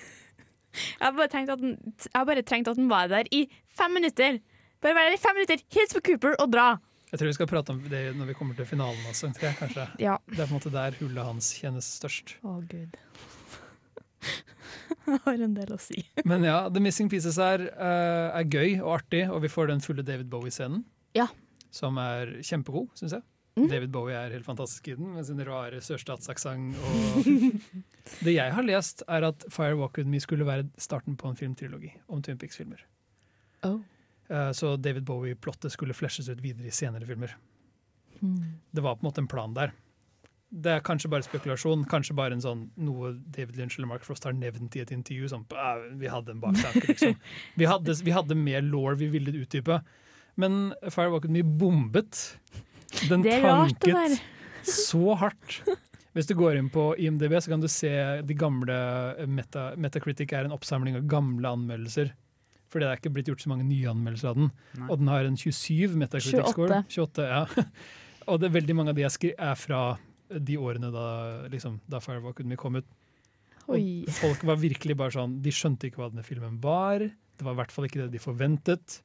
har bare trengt at den, jeg har bare trengt at den var der i fem minutter. Bare være der i fem minutter, hils på Cooper og dra! jeg tror vi skal prate om det når vi kommer til finalen av sesong tre, kanskje. Ja. Det er på en måte der hullet hans kjennes størst. Å, gud. Jeg har en del å si. Men ja, The Missing Pieces er, eh, er gøy og artig, og vi får den fulle David Bowie-scenen. Ja. Som er kjempegod, syns jeg. Mhm. David Bowie er helt fantastisk i den, med sin rare sørstatsaksent og Det jeg har lest, er at Fire Walk With Me skulle være starten på en filmtrilogi om Twin Pics-filmer. Oh. Eh, Så David Bowie-plottet skulle flashes ut videre i senere filmer. Hmm. Det var på en måte en plan der. Det er kanskje bare spekulasjon, kanskje bare en sånn, noe David Lynch eller Mark Frost har nevnt i et intervju. Sånn, «Ah, vi hadde en baktanke, liksom. Vi hadde, vi hadde mer law vi ville utdype. Men Fire Walk With Me bombet. Den Det er rart, det tanket så hardt. Hvis du går inn på IMDb, så kan du se de gamle meta, Metacritic er en oppsamling av gamle anmeldelser. For det er ikke blitt gjort så mange nye anmeldelser av den. Nei. Og den har en 27 Metacritic-score. 28, ja. Og det er veldig mange av de jeg skri er fra de årene da, liksom, da Firewalk With Me kom ut. Oi. Og folk var virkelig bare sånn De skjønte ikke hva denne filmen var. Det var i hvert fall ikke det de forventet.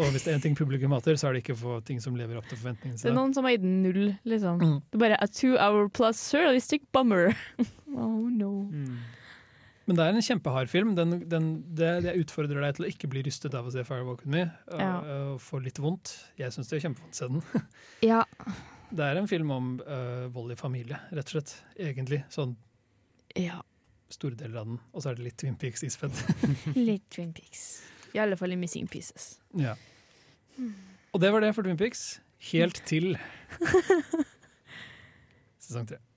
Og hvis det er én ting publikum hater, så er det ikke for ting som lever opp til forventningene Det er sine. noen som har gitt null, liksom. Mm. Det er bare a two hour plus surrealistic bummer. oh no. Hmm. Men det er en kjempehard film. Den, den, det, det utfordrer deg til å ikke bli rystet av å se Firewalk With Me. Og, Ja. og få litt vondt. Jeg syns det er kjempevondt å se den. Ja, Det er en film om øh, vold i familie, rett og slett. Egentlig. Sånn ja. store deler av den. Og så er det litt Twin Peaks ispedd. Litt Twin Peaks. I alle fall i Missing Pieces. ja. Og det var det for Twin Peaks. Helt til sesong tre.